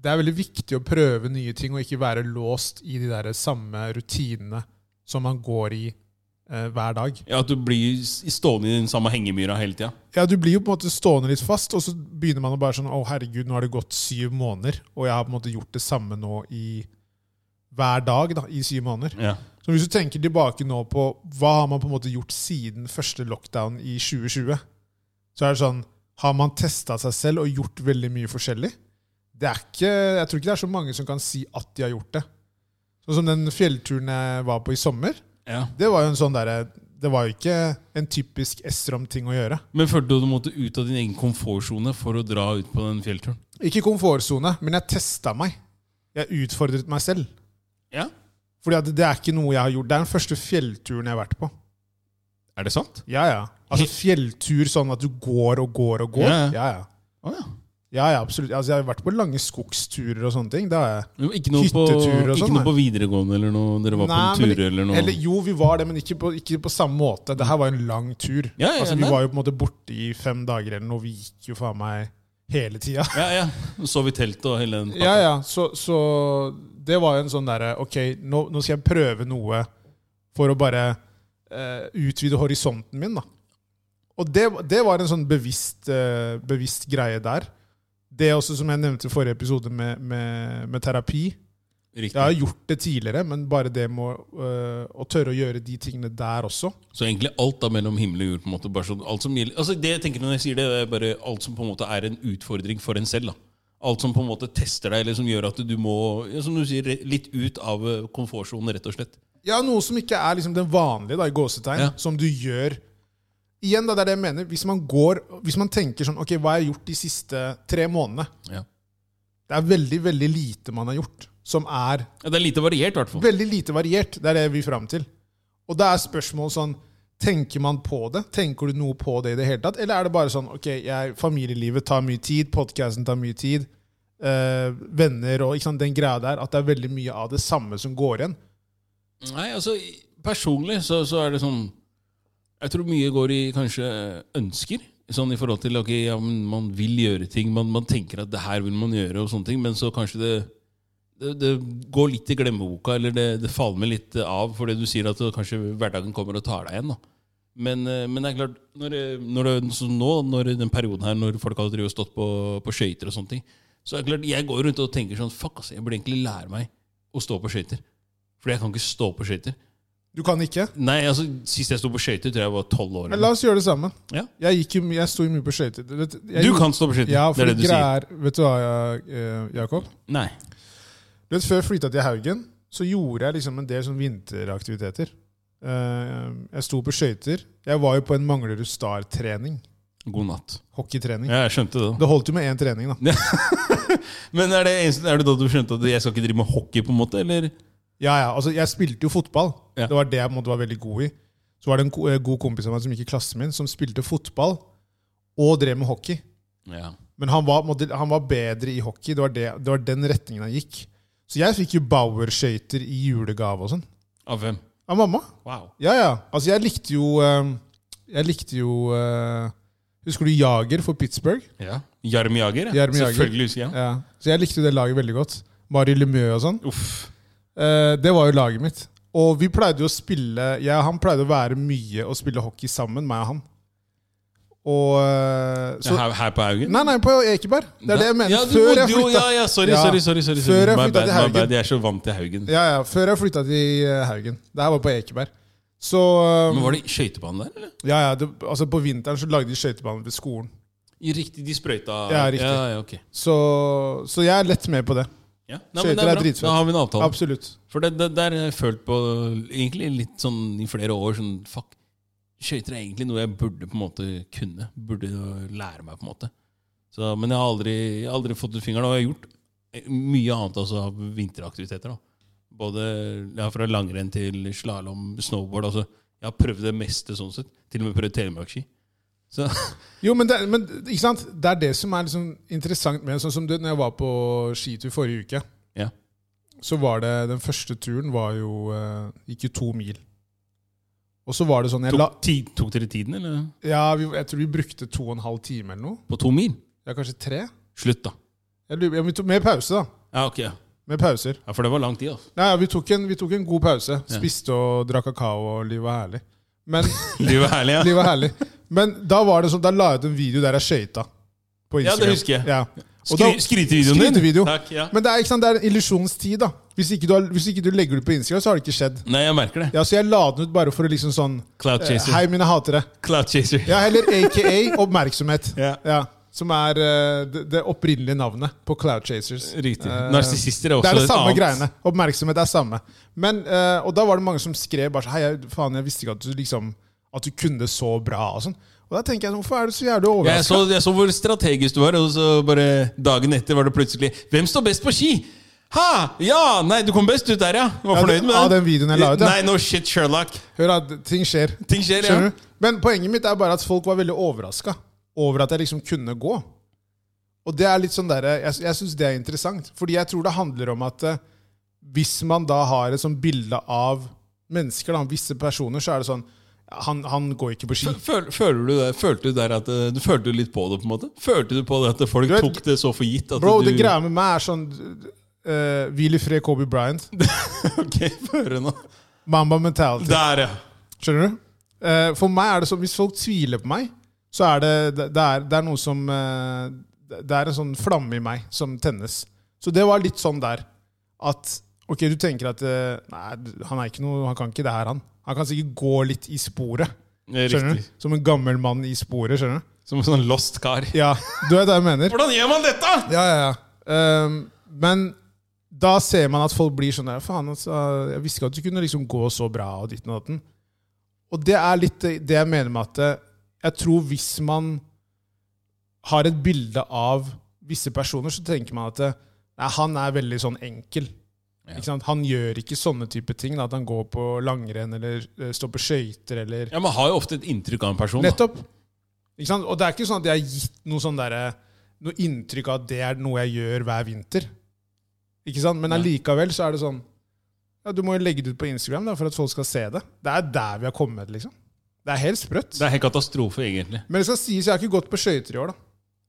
det er veldig viktig å prøve nye ting og ikke være låst i de der samme rutinene som man går i eh, hver dag.
Ja, At du blir s- stående i den samme hengemyra hele tida.
Ja, du blir jo på en måte stående litt fast, og så begynner man å bare sånn Å, herregud, nå har det gått syv måneder, og jeg har på en måte gjort det samme nå i hver dag da, i syv måneder.
Ja.
Så hvis du tenker tilbake nå på hva har man på en måte gjort siden første lockdown i 2020, så er det sånn Har man testa seg selv og gjort veldig mye forskjellig? Det er ikke, jeg tror ikke det er så mange som kan si at de har gjort det. Sånn som den fjellturen jeg var på i sommer,
ja.
det var jo en sånn derre Det var jo ikke en typisk Esrom-ting å gjøre.
Men følte du at du måtte ut av din egen komfortsone for å dra ut på den fjellturen?
Ikke komfortsone, men jeg testa meg. Jeg utfordret meg selv.
Ja.
Fordi at det er ikke noe jeg har gjort. Det er den første fjellturen jeg har vært på.
Er det sant?
Ja, ja.
<laughs>
Altså fjelltur sånn at du går og går og går.
Ja, ja.
Ja, ja.
Å ja.
Ja, ja, absolutt. Altså, jeg har vært på lange skogsturer og sånne ting. Det har jeg.
Men Ikke noe, på,
Hyttetur og
ikke
sånn,
noe på videregående eller noe? Dere var
Nei,
på
men
en tur eller noe?
Eller jo, vi var det, men ikke på, ikke på samme måte. Det her var jo en lang tur.
Ja, ja,
altså, vi
nei.
var jo på en måte borte i fem dager eller noe. Vi gikk jo faen meg hele tida.
Ja, ja. Sov i telt og hele den
Ja, ja. Så, så det var jo en sånn derre Ok, nå, nå skal jeg prøve noe for å bare eh, utvide horisonten min, da. Og det, det var en sånn bevisst, eh, bevisst greie der. Det også som jeg nevnte i forrige episode med, med, med terapi. Jeg
Riktig.
har gjort det tidligere, men bare det med å, eh, å tørre å gjøre de tingene der også.
Så egentlig alt da mellom himmel og jord. på en måte bare sånn, alt som gjelder, altså Det jeg tenker når jeg sier det, det er bare alt som på en måte er en utfordring for en selv. da. Alt som på en måte tester deg, eller som gjør at du må ja, som du sier, re- litt ut av eh, komfortsonen, rett og slett.
Ja, noe som ikke er liksom den vanlige, da, i gåsetegn,
Ja.
som du gjør Igjen, da, det er det jeg mener. Hvis man går, hvis man tenker sånn Ok, hva har jeg gjort de siste tre månedene?
Ja.
Det er veldig, veldig lite man har gjort, som er
Ja, det er lite variert, i hvert fall.
veldig lite variert. Det er det vi er fram til. Og da er spørsmålet sånn Tenker man på det? Tenker du noe på det i det hele tatt? Eller er det bare sånn Ok, jeg, familielivet tar mye tid, podkasten tar mye tid, eh, venner og ikke sant, den greia der, at det er veldig mye av det samme som går igjen.
Nei, altså i- Personlig så, så er det sånn Jeg tror mye går i kanskje ønsker. Sånn i forhold til ok, ja, men man vil gjøre ting, man, man tenker at det her vil man gjøre, og sånne ting, men så kanskje det det, det går litt i glemmeboka, eller det, det falmer litt av fordi du sier at det, kanskje hverdagen kommer og tar deg igjen. da. Men, eh, men det er klart, når, det- når det, så nå, når i den perioden her, når folk har drevet og stått på, på skøyter og sånne ting, så er det klart, jeg går rundt og tenker sånn, fuck ass, jeg burde egentlig lære meg å stå på skøyter. Fordi jeg kan ikke stå på skøyter.
Du kan ikke?
Nei, altså, sist jeg sto på skøyter, tror jeg jeg var tolv år.
Men la oss gjøre det sammen.
Ja.
Jeg, gikk jo, my- jeg sto jo mye på skøyter. Du vet- jeg
Du
gjorde-
kan stå på skøyter,
Ja,
det
for
er det du sier.
greier, Vet du hva, eh, Jakob?
Nei.
Du vet, Før jeg flytta til Haugen, så gjorde jeg liksom en del sånn vinteraktiviteter. Eh, jeg sto på skøyter. Jeg var jo på en Manglerud Star-trening.
God natt.
Hockeytrening.
Ja, jeg skjønte det. da.
Det holdt jo med én trening, da.
Men er det, eneste- er det da du skjønte at jeg skal ikke drive med hockey, på en måte? eller?
Ja, ja, altså Jeg spilte jo fotball.
Ja.
Det var det jeg på en måte var veldig god i. Så var det en ko- eh, god kompis av meg som gikk i klassen min, som spilte fotball og drev med hockey.
Ja.
Men han var, på en måte- han var bedre i hockey. Det var, det, det var den retningen han gikk. Så jeg fikk jo Bauer-skøyter i julegave og sånn.
Av hvem?
Av mamma.
Wow.
Ja, ja. Altså, jeg likte jo eh, Jeg likte jo eh, Husker du Jager for Pittsburgh?
Ja. Jarm Jager? ja.
Jarm Jager.
Selvfølgelig husker jeg.
Ja. Så jeg likte jo det laget veldig godt. Mari Lemieux og sånn.
Uff.
Eh, det var jo laget mitt. Og vi pleide jo å spille Jeg og han pleide å være mye og spille hockey sammen, meg og han. Og eh,
Ja,
så,
her, her på Haugen?
Nei, nei, på Ekeberg. Det er det jeg mener.
Ja, du
Før
bodde
jeg
jo-
flytta
Ja, ja, sorry,
Ja.
sorry. sorry, sorry, sorry.
Før jeg
My
flyttet
bad,
til
my
Haugen.
bad. Jeg er så vant til Haugen.
ja, ja, før jeg flytta til eh, Haugen. Det her var på Ekeberg. Så eh,
Men Var det skøytebane der, eller?
Ja, ja, det, altså På vinteren så lagde de skøytebaner ved skolen.
I Riktig, de sprøyta
Ja, riktig.
Ja, ja, ok.
Så, så jeg er lett med på det.
Ja. Nei, men
Skøyter
det
er
bra.
dritfett.
Da har vi en avtale.
Absolutt.
For det, det, der har jeg følt på egentlig litt sånn i flere år sånn Fuck, skøyter er egentlig noe jeg burde på en måte kunne. Burde lære meg, på en måte. Så, men jeg har aldri, jeg har aldri fått ut fingeren. Og jeg har gjort mye annet altså, av vinteraktiviteter. da. Både ja, fra langrenn til slalåm, snowboard. altså. Jeg har prøvd det meste sånn sett. Til og med prøvd telemarksski. Så
Jo, men, det, men ikke sant? det er det som er liksom interessant med Sånn som du, når jeg var på skitur forrige uke,
Ja.
så var det Den første turen var jo eh, gikk jo to mil. Og så var det sånn jeg la,
tok, ti, tok dere tiden, eller?
ja, vi, Jeg tror vi brukte to og en halv time eller noe.
På to mil?
Ja, kanskje tre?
Slutt, da.
Jeg, lurer- ja, vi tok, med pause, da.
Ja, ok. Ja,
Med pauser.
Ja, For det var lang tid,
<laughs>
altså.
Nei, ja, vi, tok en, vi tok en god pause. Spiste og drakk kakao, og livet var herlig. Men <laughs>
Livet er herlig, ja.
Livet var herlig. Men da var det sånn, da la jeg ut en video der jeg skøyta. På
Ja, det
Instagram.
husker jeg.
Ja. Og da-
Skry, skrytevideoen din.
Skrytevideo.
Takk, ja.
Men det er, ikke sant, det er en illusjonstid. da. Hvis ikke, du har, hvis ikke du legger det ut på Instagram, så har det ikke skjedd.
Nei, jeg merker det.
Ja, Så jeg la den ut bare for å liksom sånn
Cloud
eh,
chaser.
Hei, mine hatere.
Cloud chaser.
Ja, Eller aka oppmerksomhet.
<laughs> Ja.
Som er eh, det, det opprinnelige navnet på Cloud Chasers.
Riktig.
Eh,
Narsissister er også
det er det
et
samme
annet.
greiene. Oppmerksomhet er samme. Men, eh, og da var det mange som skrev bare sånn Hei, jeg- faen, jeg visste ikke at du liksom At du kunne det så bra. Og sånn Og da tenker jeg sånn, hvorfor er du så jævlig
Ja, jeg,
overraska?
så, jeg så hvor strategisk du var, og så bare dagen etter var det plutselig Hvem står best på ski? Ha! Ja! Nei, du kom best ut der, ja. Du var
Ja,
fornøyd
den-
med
ja, den videoen jeg la ut, ja.
Nei, no shit, Sherlock.
Hør at ting skjer.
Ting skjer, ja.
Skjønner du? Men poenget mitt er bare at folk var veldig overraska over at jeg liksom kunne gå. Og det er litt sånn der, Jeg, jeg syns det er interessant. Fordi jeg tror det handler om at eh, hvis man da har et sånt bilde av mennesker, da, visse personer, så er det sånn Han, han går ikke på ski.
Føl, føler du det, følte du der at eh, Du følte litt på det, på en måte? Følte du på det at folk
Du vet-
tok det så for gitt? At
Bro,
du,
det greia med meg er sånn eh, Hvil i fred, Kobe Bryant.
<laughs> Ok, høre nå.
Mamba mentality.
Der, ja.
Skjønner du? Eh, for meg er det sånn Hvis folk tviler på meg, så er det Det, det, er, det er noe som eh, Det er en sånn flamme i meg som tennes. Så det var litt sånn der at Ok, du tenker at eh, Nei, du- han er ikke noe Han kan ikke det her, han. Han kan sikkert gå litt i sporet.
Det er
Skjønner du?
Riktig.
Som en gammel mann i sporet. skjønner du?
Som en sånn lost kar.
Ja, du vet hva jeg mener?
Hvordan gjør man dette?!
Ja, ja, ja. Ehm, men da ser man at folk blir sånn der, Faen, altså, jeg visste ikke at du kunne liksom gå så bra, og ditten og datten. Og det er litt det jeg mener med at eh, jeg tror hvis man har et bilde av visse personer, så tenker man at eh, nei, han er veldig sånn enkel.
Ja.
Ikke sant? Han gjør ikke sånne type ting. Da, at han går på langrenn eller eh, står på skøyter eller
Ja, Man har jo ofte et inntrykk av en person. Da.
Nettopp. Ikke sant? Og det er ikke sånn at jeg har gitt noe, sånn derre- noe inntrykk av at det er noe jeg gjør hver vinter. Ikke sant? Men
Nei.
allikevel så er det sånn ja, Du må jo legge det ut på Instagram da, for at folk skal se det. Det er der vi har kommet. liksom. Det er helt sprøtt.
Det er helt katastrofe, egentlig.
Men det skal sies, jeg har ikke gått på skøyter i år. da.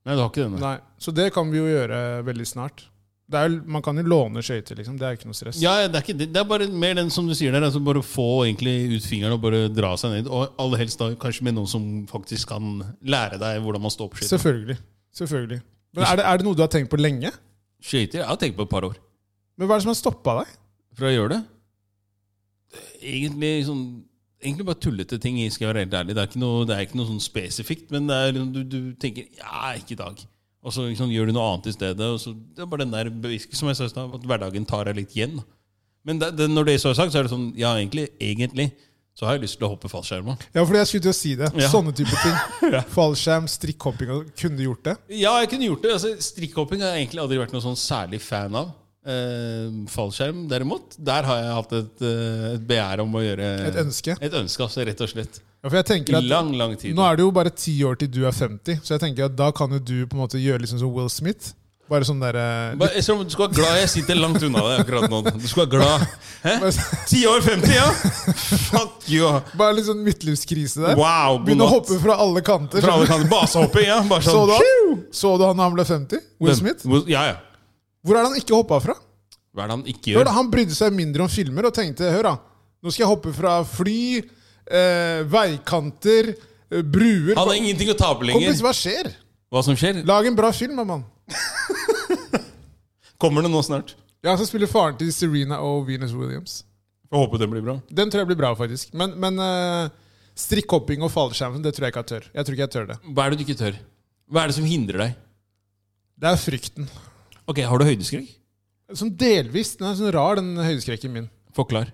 Nei, du har ikke denne.
Nei. Så det kan vi jo gjøre veldig snart. Det er, jo- man kan jo låne skøyter. liksom. Det er jo ikke noe stress.
Ja, ja, det er, ikke, det Det er bare mer den som du sier der. Altså bare få egentlig ut fingeren og bare dra seg ned. Og aller helst da kanskje med noen som faktisk kan lære deg hvordan man står på skøyter.
Selvfølgelig. Selvfølgelig. Men er det, er det noe du har tenkt på lenge?
Skøyter? Jeg har tenkt på et par år.
Men Hva er det som har stoppa deg?
For å gjøre det? Egentlig sånn Egentlig bare tullete ting, skal jeg være helt ærlig. Det er ikke noe, det er ikke noe sånn spesifikt, men det er, liksom- du, du tenker Ja, ikke i dag. Og så liksom, gjør du noe annet i stedet. Og så, det er bare den der bevisken som jeg sa i stad, at hverdagen tar deg litt igjen. da. Men det, det, når det så er sagt, så er det sånn Ja, egentlig, egentlig så har jeg lyst til å hoppe fallskjerm. da.
Ja, fordi jeg skulle til å si
<laughs>
det.
Ja.
Sånne type ting. Fallskjerm, strikkhopping og- Kunne du gjort det?
Ja, jeg kunne gjort det. Altså, Strikkhopping har jeg egentlig aldri vært noe sånn særlig fan av. Eh, fallskjerm, derimot, der har jeg hatt et, eh, et begjær om å gjøre
Et ønske?
Et ønske, altså, rett og slett.
Ja, for jeg tenker
I
at
lang, lang tid.
Nå er det jo bare ti år til du er 50, så jeg tenker at da kan jo du på en måte gjøre liksom som Will Smith. Bare sånn derre
Bare, jeg tror du skal være glad jeg sitter langt unna deg akkurat nå. Du skal være glad. Hæ? 10 år 50, ja? Fuck you.
<laughs> Bare litt sånn midtlivskrise der.
Wow, god
Begynne å
natt.
hoppe fra alle kanter.
Fra alle kanter. Basehopping, ja. Bare sånn.
<laughs> Så du han Så du han da han ble 50? Will Smith?
Will- Ja, ja.
Hvor er det han ikke hoppa fra?
Hva er det han ikke
Hør
gjør?
da, Han brydde seg mindre om filmer og tenkte Hør da, nå skal jeg hoppe fra fly, eh, veikanter, eh, bruer
Han har ingenting å tape
Kompis,
lenger.
hva skjer?
Hva som skjer?
Lag en bra film, da, mann.
Kommer det nå snart?
Ja, så spiller faren til Serena og Venus Williams.
Får håpe det blir bra.
Den tror jeg blir bra, faktisk. Men, men eh, strikkhopping og fallskjerm det tror jeg ikke jeg tør. Jeg tror ikke jeg tør det.
Hva er det du ikke tør? Hva er det som hindrer deg?
Det er frykten.
Ok, Har du høydeskrekk?
Som delvis. Den er sånn rar, den høydeskrekken min.
Forklar.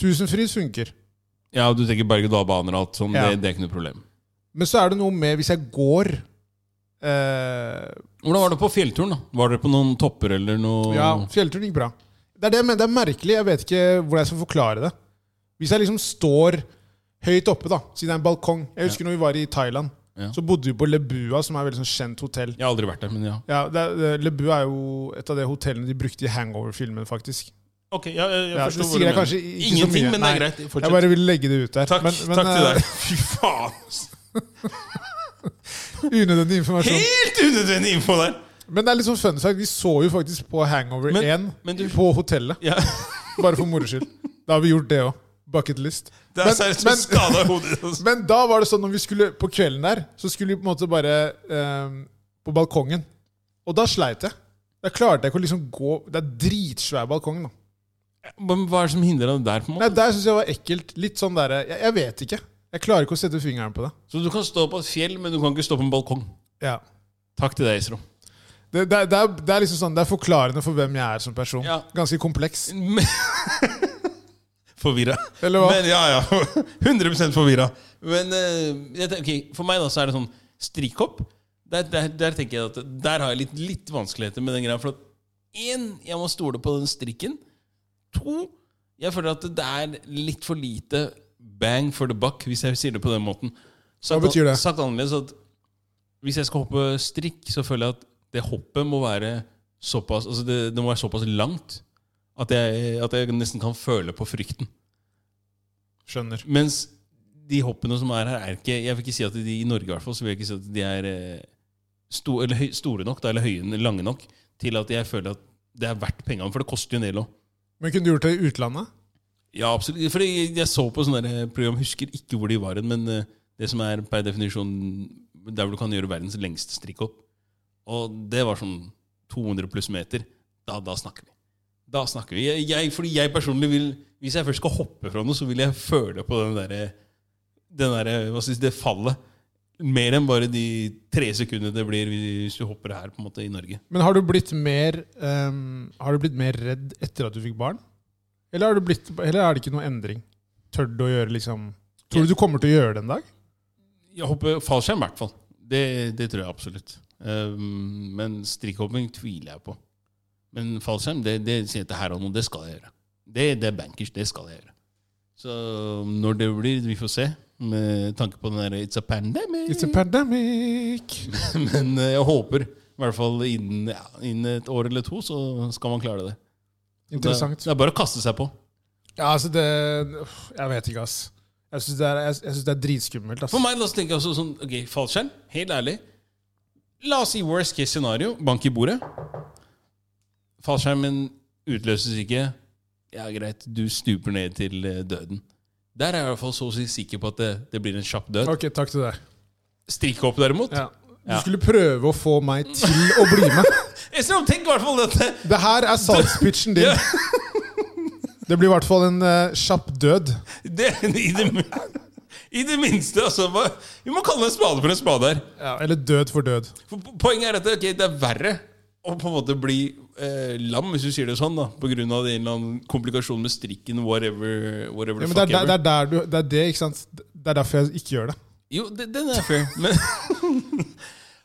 Tusenfrys funker.
Ja, du tenker berg-og-dal-baner og alt sånn.
Ja.
Det, det er ikke noe problem.
Men så er det noe med hvis jeg går eh,
Hvordan var det på fjellturen? da? Var dere på noen topper eller noe?
Ja, fjellturen gikk bra. Det er, det, jeg mener, det er merkelig. Jeg vet ikke hvordan jeg skal forklare det. Hvis jeg liksom står høyt oppe, da, siden det er en balkong Jeg husker når vi var i Thailand.
Ja.
Så bodde vi på Lebua, som er et veldig sånn kjent hotell.
Jeg har aldri vært der, men ja.
Ja, det, er- det, Lebu er jo et av de hotellene de brukte i Hangover-filmen, faktisk.
Ok, ja, jeg, jeg
Ja,
forstår hva
det
du
sier jeg
mener.
kanskje ikke så
Ingenting,
mye.
men det er
Nei.
greit.
Jeg
Fortsett.
bare ville legge det ut der.
Takk,
Men- men,
takk til
eh,
deg. <laughs> Fy faen. ass.
<laughs> Unødvendig informasjon.
Helt unødvendig info der!
Men det er litt sånn fun fact. Vi så jo faktisk på Hangover
Men-
1
men du-
på hotellet.
Ja,
Bare for moro skyld. Da har vi gjort det òg. Bucket list.
det er seriøst som
men,
skada hodet. altså. ass.
men da var det sånn når vi skulle på kvelden der, så skulle vi på en måte bare eh, på balkongen. Og da sleit jeg. Da klarte jeg ikke å liksom gå Det er dritsvær balkong, da.
Men Hva er det som hindrer deg der? på en måte?
Nei, der syns jeg var ekkelt. Litt sånn derre jeg, jeg vet ikke. Jeg klarer ikke å sette fingeren på det.
Så Du kan stå på et fjell, men du kan ikke stå på en balkong.
Ja.
Takk til deg, Isro.
Det, det, det, er, det er liksom sånn Det er forklarende for hvem jeg er som person.
Ja.
Ganske kompleks.
<laughs> Forvirra.
Eller hva?
Men, ja, ja. <laughs> 100 forvirra. Men eh, jeg tenker, ok, for meg da så er det sånn strikkhopp. Der, der, der tenker jeg at Der har jeg litt, litt vanskeligheter med den greia. For at én, jeg må stole på den strikken. To, jeg føler at det er litt for lite bang for the buck, hvis jeg sier det på den måten. Sagt an-
betyr det?
Sagt annerledes at hvis jeg skal hoppe strikk, så føler jeg at det hoppet må være såpass altså det, det må være såpass langt at jeg, at jeg nesten kan føle på frykten.
Skjønner.
Mens de hoppene som er her, er ikke Jeg vil ikke si at de i Norge i hvert fall, så vil jeg ikke si at de er eh, sto, eller, høy, store nok, da, eller høye, lange nok, til at jeg føler at det er verdt pengene, for det koster jo en del òg.
Men kunne du gjort det i utlandet?
Ja, absolutt. For jeg, jeg så på sånne der program, husker ikke hvor de var hen, men eh, det som er per definisjon der hvor du kan gjøre verdens lengste strikkhopp, og det var sånn 200 pluss meter, da, da snakker vi. Da snakker vi. Jeg, jeg, fordi jeg personlig vil, hvis jeg først skal hoppe fra noe, så vil jeg føle på den derre den derre- hva skal jeg si, det fallet. Mer enn bare de tre sekundene det blir hvis du hopper her på en måte i Norge.
Men har du blitt mer, ehm, har du blitt mer redd etter at du fikk barn? Eller, har du blitt, eller er det ikke noe endring? Tør du å gjøre liksom Tror du du kommer til å gjøre det en dag?
Jeg hopper fallskjerm, i hvert fall. Det, det tror jeg absolutt. Ehm, men strikkhopping tviler jeg på. Men fallskjerm, det, det sier jeg til her og nå, det skal jeg gjøre. Det, det er bankers, det skal jeg gjøre. Så når det blir, vi får se. Med tanke på den derre It's a pandemic. <laughs>
It's a pandemic!
men eh, jeg håper, i hvert fall innen, ja, innen et år eller to, så skal man klare det.
Interessant.
Det, det er bare å kaste seg på.
Ja, altså det uff, Jeg vet ikke, ass. Jeg syns det, er- jeg, jeg synes det er dritskummelt. ass.
For meg, la oss tenke altså, sånn, ok, fallskjerm, helt ærlig. La oss si worst case scenario, bank i bordet. Fallskjermen utløses ikke. Ja, greit, du stuper ned til eh, døden. Der er jeg i hvert fall så å si sikker på at det, det blir en kjapp død.
Ok, takk til deg.
Strikkhopp, derimot
Ja. Du
Ja.
skulle prøve å få meg til å bli med.
Esrom, tenk i hvert fall dette!
Det her er salgspitchen din.
Ja.
Det blir i hvert fall en eh, kjapp død.
Det, i, det, min- I det minste, altså. hva- Vi må kalle en spade for en spade her.
Eller død for død.
For po- Poenget er at ok, det er verre å på en måte bli eh, lam, hvis du sier det sånn, da på grunn av en eller annen komplikasjon med strikken, whatever, whatever
Ja,
the
men det,
fuck
er, der-
ever.
det, er der du, det er det, ikke sant? Det er derfor jeg ikke gjør det.
Jo, det, den er fair, men <laughs>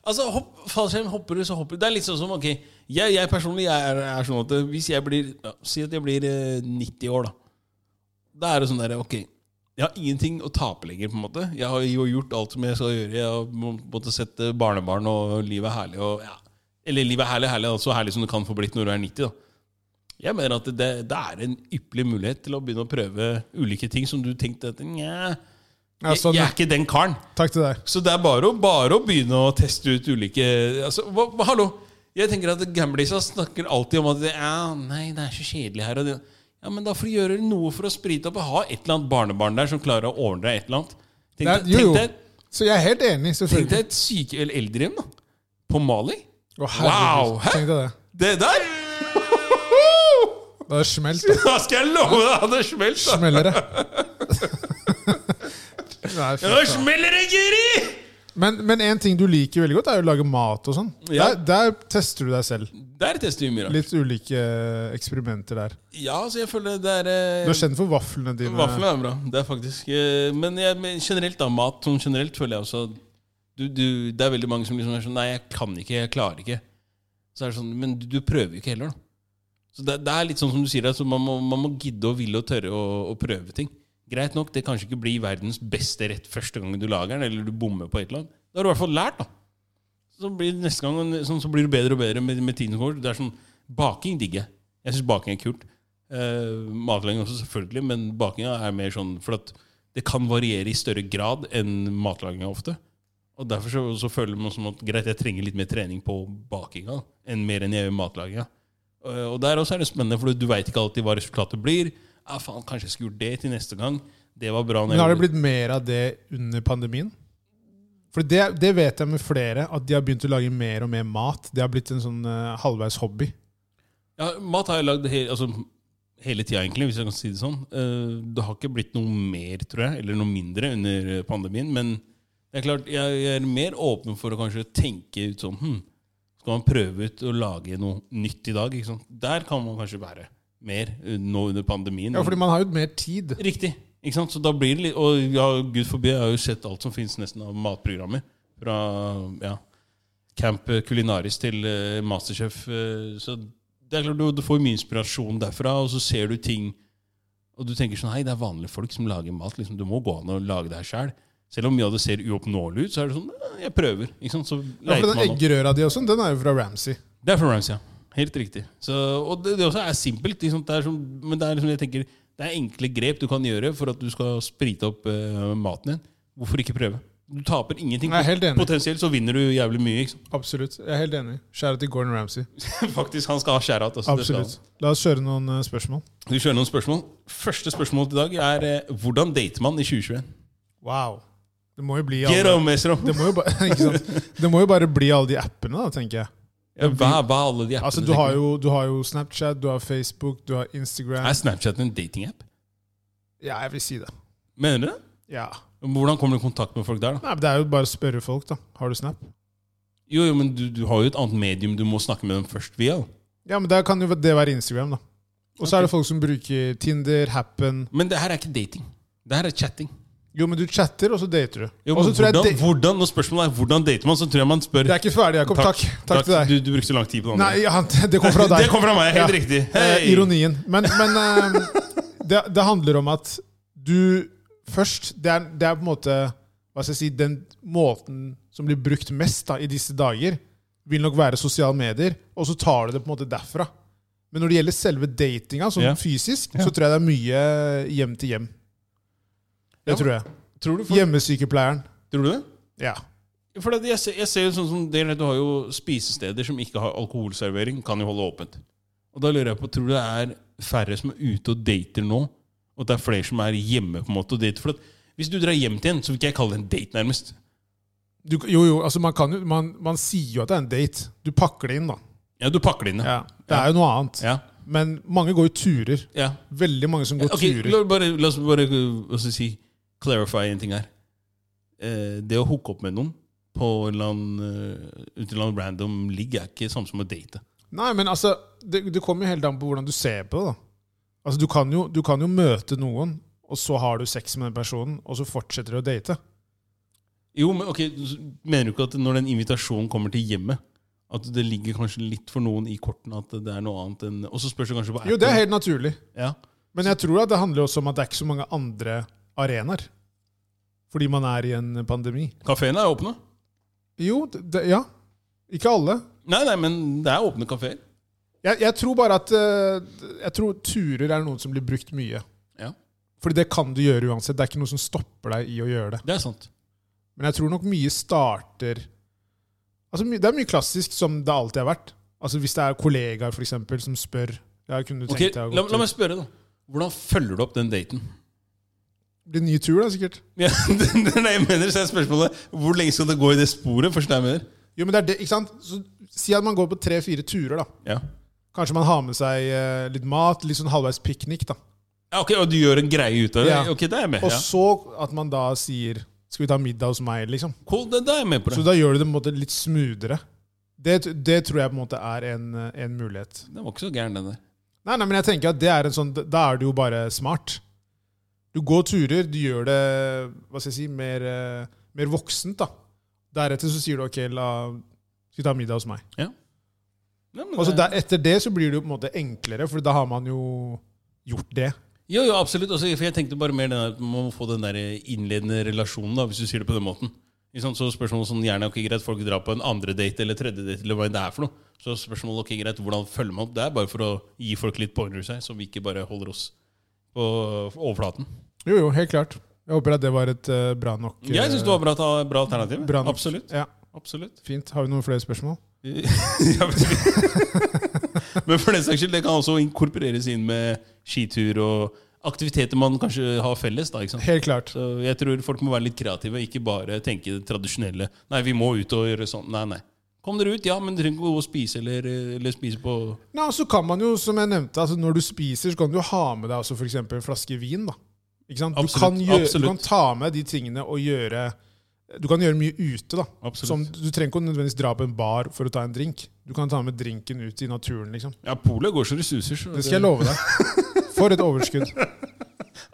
Altså, hopp, fallskjerm hopper du, så hopper du. Det er litt sånn som ok, jeg, jeg personlig jeg er, er sånn at hvis jeg blir ja, Si at jeg blir eh, 90 år, da. Da er det sånn derre Ok, jeg har ingenting å tape lenger, på en måte. Jeg har jo gjort alt som jeg skal gjøre. Jeg har på en måte sett eh, barnebarn, og livet er herlig. Og, ja. Eller livet er herlig, herlig, altså, så herlig som det kan få blitt når du er 90. da. Jeg mener at det, det er en ypperlig mulighet til å begynne å prøve ulike ting som du tenkte at Nja,
Ja,
jeg,
sånn,
jeg
ja.
er ikke den karen.
Takk til deg.
Så det er bare å, bare å begynne å teste ut ulike altså, hva, hva, Hallo! Jeg tenker at Gamblisa snakker alltid om at det, ja, nei, det er så kjedelig her. Og det. Ja, Men da får du gjøre noe for å sprite opp og ha et eller annet barnebarn der som klarer å ordne deg et eller annet. Tenk
Det
deg,
er, jo,
tenk
jo.
deg,
Så jeg er helt enig,
tenk
selvfølgelig.
deg et syke... Eller eldrehjem, da. På Mali.
Å, herregud.
Wow, hæ?
Tenk deg det.
Det der!
Det har smelt. det.
Da skal jeg love deg at det smelt! da.
Smeller det. <laughs> Nei, fy
Nå
faen.
smeller det, Giri!
Men, men en ting du liker veldig godt, er jo å lage mat og sånn.
Ja.
Der, der tester du deg selv.
Der tester vi mye. da.
Litt ulike eksperimenter der.
Ja, så jeg føler det er eh,
Du er kjent for vaflene dine.
Vafler er bra. Det er faktisk eh, Men, jeg, men generelt da, mat sånn generelt føler jeg også du, du, Det er veldig mange som liksom er sånn Nei, jeg kan ikke, jeg klarer ikke. Så er det sånn Men du, du prøver jo ikke heller, da. Så det, det er litt sånn som du sier, altså, man, må, man må gidde og ville og tørre å, å prøve ting. Greit nok, det kanskje ikke blir verdens beste rett første gang du lager den, eller du bommer på et eller annet. Da har du i hvert fall lært, da. Så blir det neste gang en- sånn, så blir det bedre og bedre med, med tiden som går. Det er sånn, Baking digger jeg. Jeg syns baking er kult. Uh, matlaging også, selvfølgelig, men bakinga er mer sånn For at det kan variere i større grad enn matlaginga ofte. Og derfor så, så føler man som at greit, jeg trenger litt mer trening på bakinga enn mer enn jeg gjør matlaginga. Eh, og der også er det spennende, for du veit ikke alltid hva resultatet blir. Ja, faen, kanskje jeg skulle gjort det til neste gang. Det var bra. når
Men
jeg
har det
gjorde
blitt mer av det under pandemien? For det, det vet jeg med flere, at de har begynt å lage mer og mer mat. Det har blitt en sånn eh, halvveis hobby.
Ja, mat har jeg lagd he altså, hele tida, egentlig, hvis jeg kan si det sånn. Eh, det har ikke blitt noe mer, tror jeg, eller noe mindre under eh, pandemien. Men det er klart, jeg, jeg er mer åpen for å kanskje tenke ut sånn hm, Skal man prøve ut å lage noe nytt i dag? Ikke sant? Der kan man kanskje være mer eh, nå under pandemien.
Ja, fordi man har jo mer tid.
Riktig. Ikke sant? Så da blir det litt, og ja, gud forby, jeg har jo sett alt som finnes nesten av matprogrammer. Fra ja, Camp Kulinaris til eh, Masterchef. eh, så det er klart du, du får mye inspirasjon derfra, og så ser du ting Og du tenker sånn Hei, det er vanlige folk som lager mat. Liksom, du må gå an å lage det her sjøl. Selv om mye av det ser uoppnåelig ut, så er det sånn «Eh, Jeg prøver. Ikke sant? Så
Ja, for
leiter
den
man opp.
eggerøra di og sånn, den er jo fra Ramsay.
Det er fra Rams, ja. Helt riktig. Så, og det, det også er simpelt. Liksom. Det er som, men det er liksom, jeg tenker, Det er enkle grep du kan gjøre for at du skal sprite opp eh, maten din. Hvorfor ikke prøve? Du taper ingenting.
Jeg er helt enig.
Potensielt så vinner du jævlig mye. Ikke sant? <laughs>
Absolutt. Jeg er helt enig. Skjære til Gordon Ramsay.
Faktisk, Han skal ha skjærat. Altså, Det skal han.
Absolutt. La oss kjøre noen eh, spørsmål.
Vi kjører noen spørsmål. Første spørsmål til i dag er eh, hvordan dater man i 2021?
Wow. Det må jo bli
Get
alle,
on, Mesro!
det må jo ba, <laughs> ikke sant? Det må jo bare bli alle de appene, da, tenker jeg.
Ja, hva, hva er alle de appene?
Altså, du har jo, du har jo Snapchat, du har Facebook, du har Instagram.
Er Snapchat en datingapp?
Ja, jeg vil si det.
Mener du det?
Ja.
Hvordan kommer du i kontakt med folk der? da?
Nei, men det er jo bare å spørre folk, da. Har du Snap?
Jo, jo, men du, du har jo et annet medium du må snakke med dem først via. da.
Ja, men der kan jo det være Instagram, da. Og så er det folk som bruker Tinder, Happen
Men det her er ikke dating. Det her er chatting.
Jo, men du chatter, og så dater du.
Jo,
og
men
så tror jeg
hvordan,
det-
hvordan, når spørsmålet er hvordan dater man, så tror jeg man spør
Det er ikke ferdig, Jakob. Takk. Takk, til deg.
Du, du brukte så lang tid på det andre.
Nei, ja, <laughs> det kom
<laughs>
fra deg.
Det kom fra meg, helt
Ja.
riktig.
Eh,
Hei!
Ironien. Men, men eh, det, det handler om at du først det er, det er på en måte Hva skal jeg si Den måten som blir brukt mest da, i disse dager, vil nok være sosiale medier. Og så tar du det på en måte derfra. Men når det gjelder selve datinga, sånn
Ja.
fysisk,
Ja.
så tror jeg det er mye hjem til hjem. Det
Ja,
tror jeg.
Tror du, folk-
Hjemmesykepleieren.
tror du det?
Ja.
For det, jeg, ser, jeg ser jo sånn som dere, Du har jo spisesteder som ikke har alkoholservering, kan jo holde åpent. Og da lurer jeg på, Tror du det er færre som er ute og dater nå, og at det er flere som er hjemme? på en måte og dater? For at Hvis du drar hjem til en, så vil ikke jeg kalle det en date, nærmest.
Du, jo, jo, altså man, kan, jo- man, man sier jo at det er en date. Du pakker det inn, da.
Ja, Du pakker det inn. Ja.
Ja. Det er jo noe annet.
ja.
Men mange går jo turer.
ja.
Veldig mange som går
Ok,
turer.
la, bare, la oss bare uh, hva skal jeg si, clarify en ting her. Eh, det å hooke opp med noen på en eller annen, uh, ut i en eller annen random ligg er ikke samme som å date.
Nei, men altså, det, det kommer jo helt an på hvordan du ser på det. da. Altså, du kan, jo, du kan jo møte noen, og så har du sex med den personen, og så fortsetter du å date.
Jo, men ok, s- Mener du ikke at når den invitasjonen kommer til hjemmet, at det ligger kanskje litt for noen i kortene at det er noe annet enn Og så spørs det kanskje på
Jo, det er helt naturlig.
Ja.
Men jeg tror at det handler også om at det er ikke så mange andre arenaer. Fordi man er i en pandemi.
Kafeene er åpne.
Jo, det, det, ja. Ikke alle.
Nei, nei, men det er åpne kafeer.
Jeg, jeg tror bare at eh, Jeg tror turer er noe som blir brukt mye.
Ja.
Fordi det kan du gjøre uansett. Det er ikke noe som stopper deg i å gjøre det.
Det er sant.
Men jeg tror nok mye starter Altså, my- Det er mye klassisk som det alltid har vært. Altså Hvis det er kollegaer for eksempel, som spør ja, kunne du
Ok,
tenkt deg å gå
la, la
til-
meg spørre, da. Hvordan følger du opp den daten?
Det blir en ny tur, da, sikkert.
Ja, <laughs> det det er det jeg mener, så er spørsmålet Hvor lenge skal det gå i det sporet? Først jeg mener
Jo, men det er det, ikke sant? Så Si at man går på tre-fire turer. da.
Ja.
Kanskje man har med seg eh, litt mat, litt sånn halvveis piknik. da.
Ja, Ok, og du gjør en greie ut av det?
Ja.
Ok, det er jeg med.
Og
Ja.
så at man da sier 'skal vi ta middag hos meg', liksom.
Cool, det, det er jeg med på.
Så
Det.
da gjør du det på en måte litt smoothere. Det, det tror jeg på en måte er en, eh, en mulighet.
Den var ikke så gæren, den der.
Nei, nei, men jeg tenker at det er en sånn Da er det jo bare smart. Du går turer, du gjør det hva skal jeg si, mer, eh, mer voksent. da. Deretter så sier du ok, la, skal vi ta middag hos meg.
Nei, men
Og så
det-
der, Etter det så blir det jo på en måte enklere, for da har man jo gjort det.
Jo, jo, absolutt. Altså, for jeg tenkte bare mer den der, at man må få den der eh, innledende relasjonen, da, hvis du sier det på den måten. Ikke sant? Så spørsmålet sånn, gjerne, ok, greit, folk drar på en andre date eller tredje date, eller hva enn det er for noe. Så spørsmålet, ok, greit, hvordan følger man opp? Det er bare for å gi folk litt pointers her, så vi ikke bare holder oss på overflaten.
Jo, jo, helt klart. Jeg håper at det var et eh, bra nok eh,
Jeg syns det var bra, ta- bra alternativ.
Bra nok.
absolutt.
Ja,
absolutt.
Fint. Har vi noen flere spørsmål?
<laughs> Ja, men- Men for den saks skyld, det kan også inkorporeres inn med skitur og aktiviteter man kanskje har felles. da, ikke sant?
Helt klart.
Så jeg tror folk må være litt kreative, ikke bare tenke det tradisjonelle. Nei, vi må ut og gjøre sånn. Nei, nei. Kom dere ut, ja, men dere trenger ikke gå og spise eller, eller spise på
Nei, og så kan man jo, som jeg nevnte, altså Når du spiser, så kan du ha med deg også for eksempel en flaske vin. da. Ikke sant? Du,
Absolutt,
kan gjøre,
absolutt.
du kan ta med de tingene og gjøre Du kan gjøre mye ute. da.
Absolutt.
Som, du trenger ikke å nødvendigvis dra på en bar for å ta en drink. Du kan ta med drinken ut i naturen. liksom.
Ja, polet går så det suser. Så
Det skal jeg love deg. For et overskudd. Nei,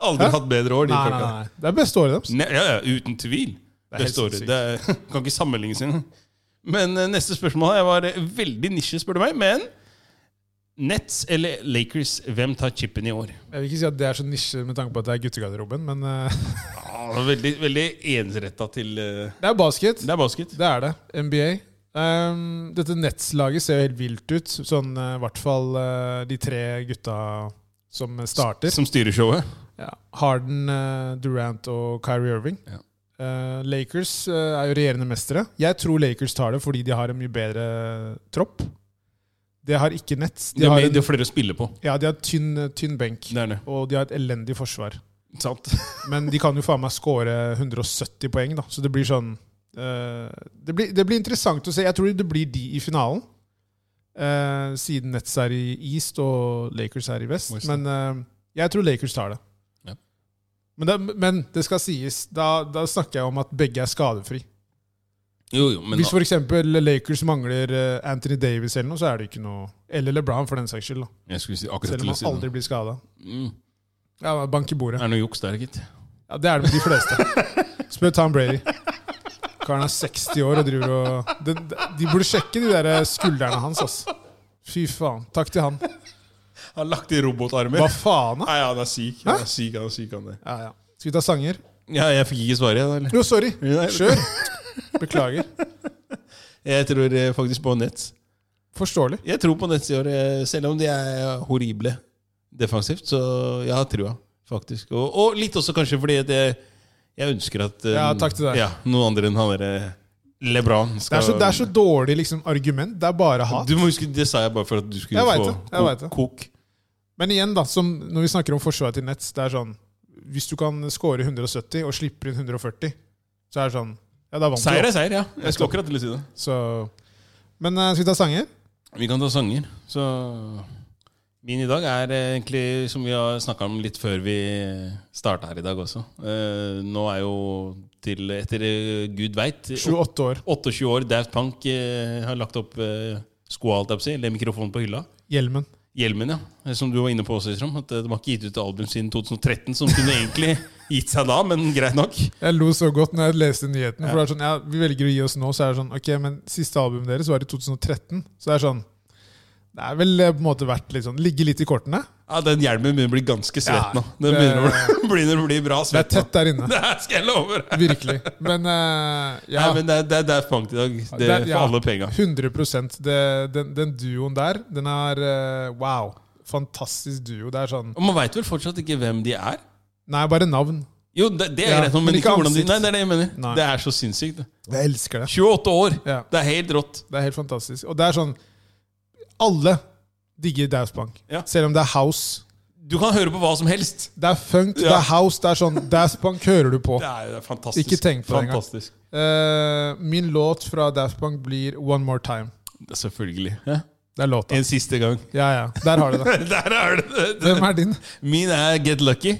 Aldri hatt bedre år, de
nei,
folka.
nei. Det er beste året deres.
Ne- Ja, ja, uten tvil.
Det er
Det
helt
står det. det <laughs> er, kan ikke sammenlignes engang. Men eh, neste spørsmål her var eh, veldig nisje, spør du meg. Men Nets eller Lakers, hvem tar chipen i år?
Jeg vil ikke si at det er så nisje med tanke på at det er guttegarderoben, men eh,
Ja, det var veldig veldig ensretta til eh,
det er basket.
Det er basket.
Det er det. NBA. Ehm, dette Nets-laget ser jo helt vilt ut. Sånn eh, i hvert fall eh, de tre gutta som starter.
Som styrer showet.
Ja. Harden, eh, Durant og Kyrie Irving.
Ja.
Eh, Lakers eh, er jo regjerende mestere. Jeg tror Lakers tar det fordi de har en mye bedre tropp. De har ikke nett.
De
De
har,
har,
mer, de
en,
har flere å spille på.
ja, de har tynn, tynn benk.
Det er det.
Og de har et elendig forsvar.
Sant.
Men de kan jo faen meg score 170 poeng, da. Så det blir sånn eh, det, blir, det blir interessant å se. Jeg tror det blir de i finalen. eh, siden Nets er i East og Lakers er i Vest.
West, ja.
Men eh, jeg tror Lakers tar det.
Ja.
Men, det men det skal sies, da, da snakker jeg om at begge er skadefri.
Jo, jo, men
Hvis f.eks. Lakers mangler eh, Anthony Davis eller noe, så er det ikke noe Eller LeBron, for den saks skyld. Da.
Jeg skulle si akkurat
Selv
til
om
å si
han aldri
det.
blir skada.
Mm.
Ja, bank i bordet.
Er det noe juks der, gitt?
Ja, Det er det med de fleste. Spør Tom Brady. Karen er 60 år og driver og De, de burde sjekke de der eh, skuldrene hans, ass. Fy faen. Takk til han.
Han har lagt i robotarmer.
Hva faen, da?
Nei, han er syk. Han er syk, han er syk, han er.
Ja, ja. Skal vi ta sanger?
Ja, jeg fikk ikke svaret, jeg, da. eller?
Jo, sorry.
Nei.
Kjør. Beklager.
Jeg tror eh, faktisk på Nets.
Forståelig.
Jeg tror på Nets i år, eh, selv om de er horrible defensivt. Så jeg har trua, faktisk. Og, og litt også kanskje fordi at jeg, jeg ønsker at eh,
Ja, takk til deg.
Ja, noen andre enn han derre LeBron
Det
skal
er så, det er så dårlig liksom, argument. Det er bare hat.
Du må huske, Det sa jeg bare for at du skulle
Jeg vet
få
det, jeg vet
ko-
det.
kok.
Men igjen, da, som når vi snakker om forsvaret til Nets, det er sånn Hvis du kan score 170 og slipper inn 140, så er det sånn Ja, da vant du.
Seier
da.
er seier, ja. Jeg skulle akkurat til å si det.
Så Men eh, skal vi ta sanger?
Vi kan ta sanger. Så min i dag er eh, egentlig, som vi har snakka om litt før vi starta her i dag også eh, Nå er jo til, etter eh, gud veit
28 år.
28 år, Daft Punk eh, har lagt opp eh, skoa, holdt jeg på å si, eller mikrofonen på hylla.
Hjelmen.
Hjelmen, ja. Eh, Som du var inne på også, Isram. At eh, de har ikke gitt ut album siden 2013, som kunne egentlig <laughs> gitt seg da, men greit nok.
Jeg lo så godt når jeg leste nyheten. For det er sånn, ja, Vi velger å gi oss nå, så er det sånn Ok, men siste albumet deres var i 2013. Så det er sånn Det er vel eh, på en måte verdt litt sånn Ligge litt i kortene.
Ja, Den hjelmen begynner å bli ganske svett
Ja,
nå. Den
det-
begynner å bli, <laughs> begynner å bli bra
Det er
svett.
tett der
nå.
inne.
<laughs> Det her skal jeg love deg!
Virkelig. Men eh, ja,
Nei, men det, er- det er Daft Punk i dag. Det
Det er-
er for
ja.
alle penga.
100 det, den, den duoen der, den er eh, Wow. Fantastisk duo. Det er sånn
Og man veit vel fortsatt ikke hvem de er?
Nei, bare navn.
Jo, det, det er
Ja,
greit, nå,
men
men
ikke
ikke hvordan de
ansikt.
Nei, det er det jeg mener.
Nei.
Det er så sinnssykt. det.
Jeg elsker det.
28 år!
Ja,
Det er helt rått.
Det er helt fantastisk. Og det er sånn Alle digger Daus Bank.
Ja.
Selv om det er house.
Du kan høre på hva som helst.
Det er funk, det
Ja.
er house, det er sånn Daft Punk hører du på.
Det er, det er fantastisk.
Ikke tenk på det engang.
fantastisk.
Eh, min låt fra Daft Punk blir One More Time.
det engang. Selvfølgelig. Ja.
Det er låta.
En siste gang. <laughs>
Ja, ja. Der har du det.
Der er det! det- det-
Hvem er din?
Min er Get Lucky.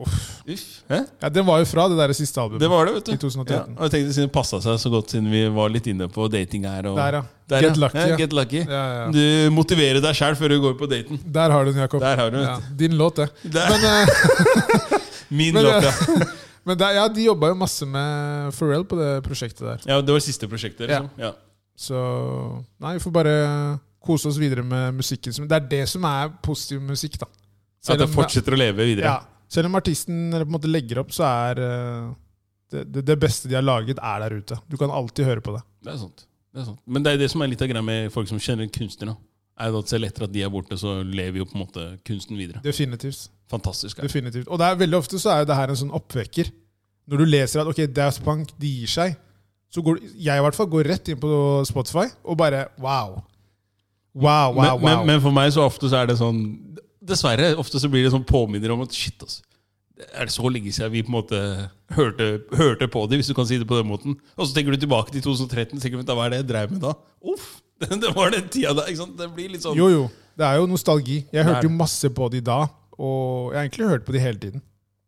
Uff. Hæ?
Ja, Den var jo fra det der siste albumet.
Det var det, vet du.
I 2013.
Ja, og jeg tenkte Siden det passa seg så godt, siden vi var litt inne på dating her. Og
Der, ja.
Der,
Get Lucky, ja.
Get lucky.
Ja, ja.
Du motiverer deg sjæl før du går på daten.
Der har du den, Jakob.
Der har du den,
ja,
vet
Din låt, det.
Det er
Men, eh, <laughs>
min
men,
låt, ja.
men der, ja, de jobba jo masse med Pharrell på det prosjektet der.
ja. Det var siste prosjektet.
Ja.
Liksom. Ja.
Så Nei, vi får bare kose oss videre med musikken. som- Det er det som er positiv musikk, da.
Så at jeg fortsetter å leve videre.
ja, selv om artisten eller på en måte legger opp, så er eh, det, det, det beste de har laget, er der ute. Du kan alltid høre på det.
Det er sant. Det er sant. Men det er det som er litt av greia med folk som kjenner kunstnere. Er det at Selv etter at de er borte, så lever jo på en måte kunsten videre.
Definitivt.
Fantastisk. Ja.
Definitivt. Og det er, veldig ofte så er jo det her en sånn oppvekker. Når du leser at ok, Daft Punk de gir seg, så går jeg i hvert fall går rett inn på Spotify og bare wow. Wow, wow, wow.
men, men, men for meg så ofte så er det sånn Dessverre, ofte så blir det sånn påminner om at shit, ass. Det Er det så lenge siden vi på en måte hørte, hørte på det, hvis du kan si det på den måten? Og så tenker du tilbake til 2013 og tenker du, hva er det jeg drev med da? Uff! <laughs> Det, det var den tida da. ikke sant? Det blir litt sånn
jo, jo. Det er jo nostalgi. Jeg
er
hørte
det.
jo masse på de da, og jeg har egentlig hørt på de hele tiden.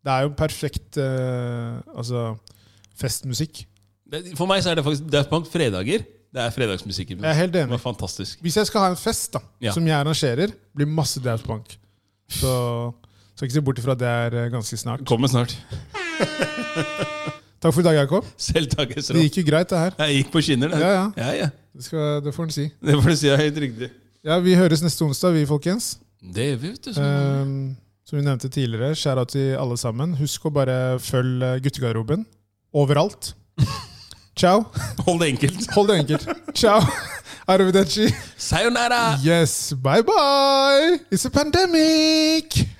Det er jo perfekt eh, altså, festmusikk.
det, For meg så er det faktisk Daft Punk fredager. Det er fredagsmusikken.
Jeg er helt
Det
enig.
var fantastisk.
Hvis jeg skal ha en fest da,
Ja.
som jeg arrangerer, blir masse Daft Punk. Så skal ikke se bort ifra at det er eh, ganske snart.
Kommer snart. <laughs>
Takk for i dag, Jakob.
Selv takk,
Det
Esra.
gikk jo greit, det her.
Jeg gikk på skinner, det.
Ja, ja.
Ja, ja.
Det, skal, det får en si.
Det får du si er helt riktig.
Ja, Vi høres neste onsdag, vi, folkens.
Det gjør vi, vet du. sånn. så-
Ehm, som vi nevnte tidligere, skjæra til alle sammen. Husk å bare følge guttegarderoben overalt. <laughs> Ciao.
Hold det enkelt.
Hold det enkelt. Ciao. <laughs> Arrivederci.
Sayonara!
Yes, bye bye. It's a pandemic.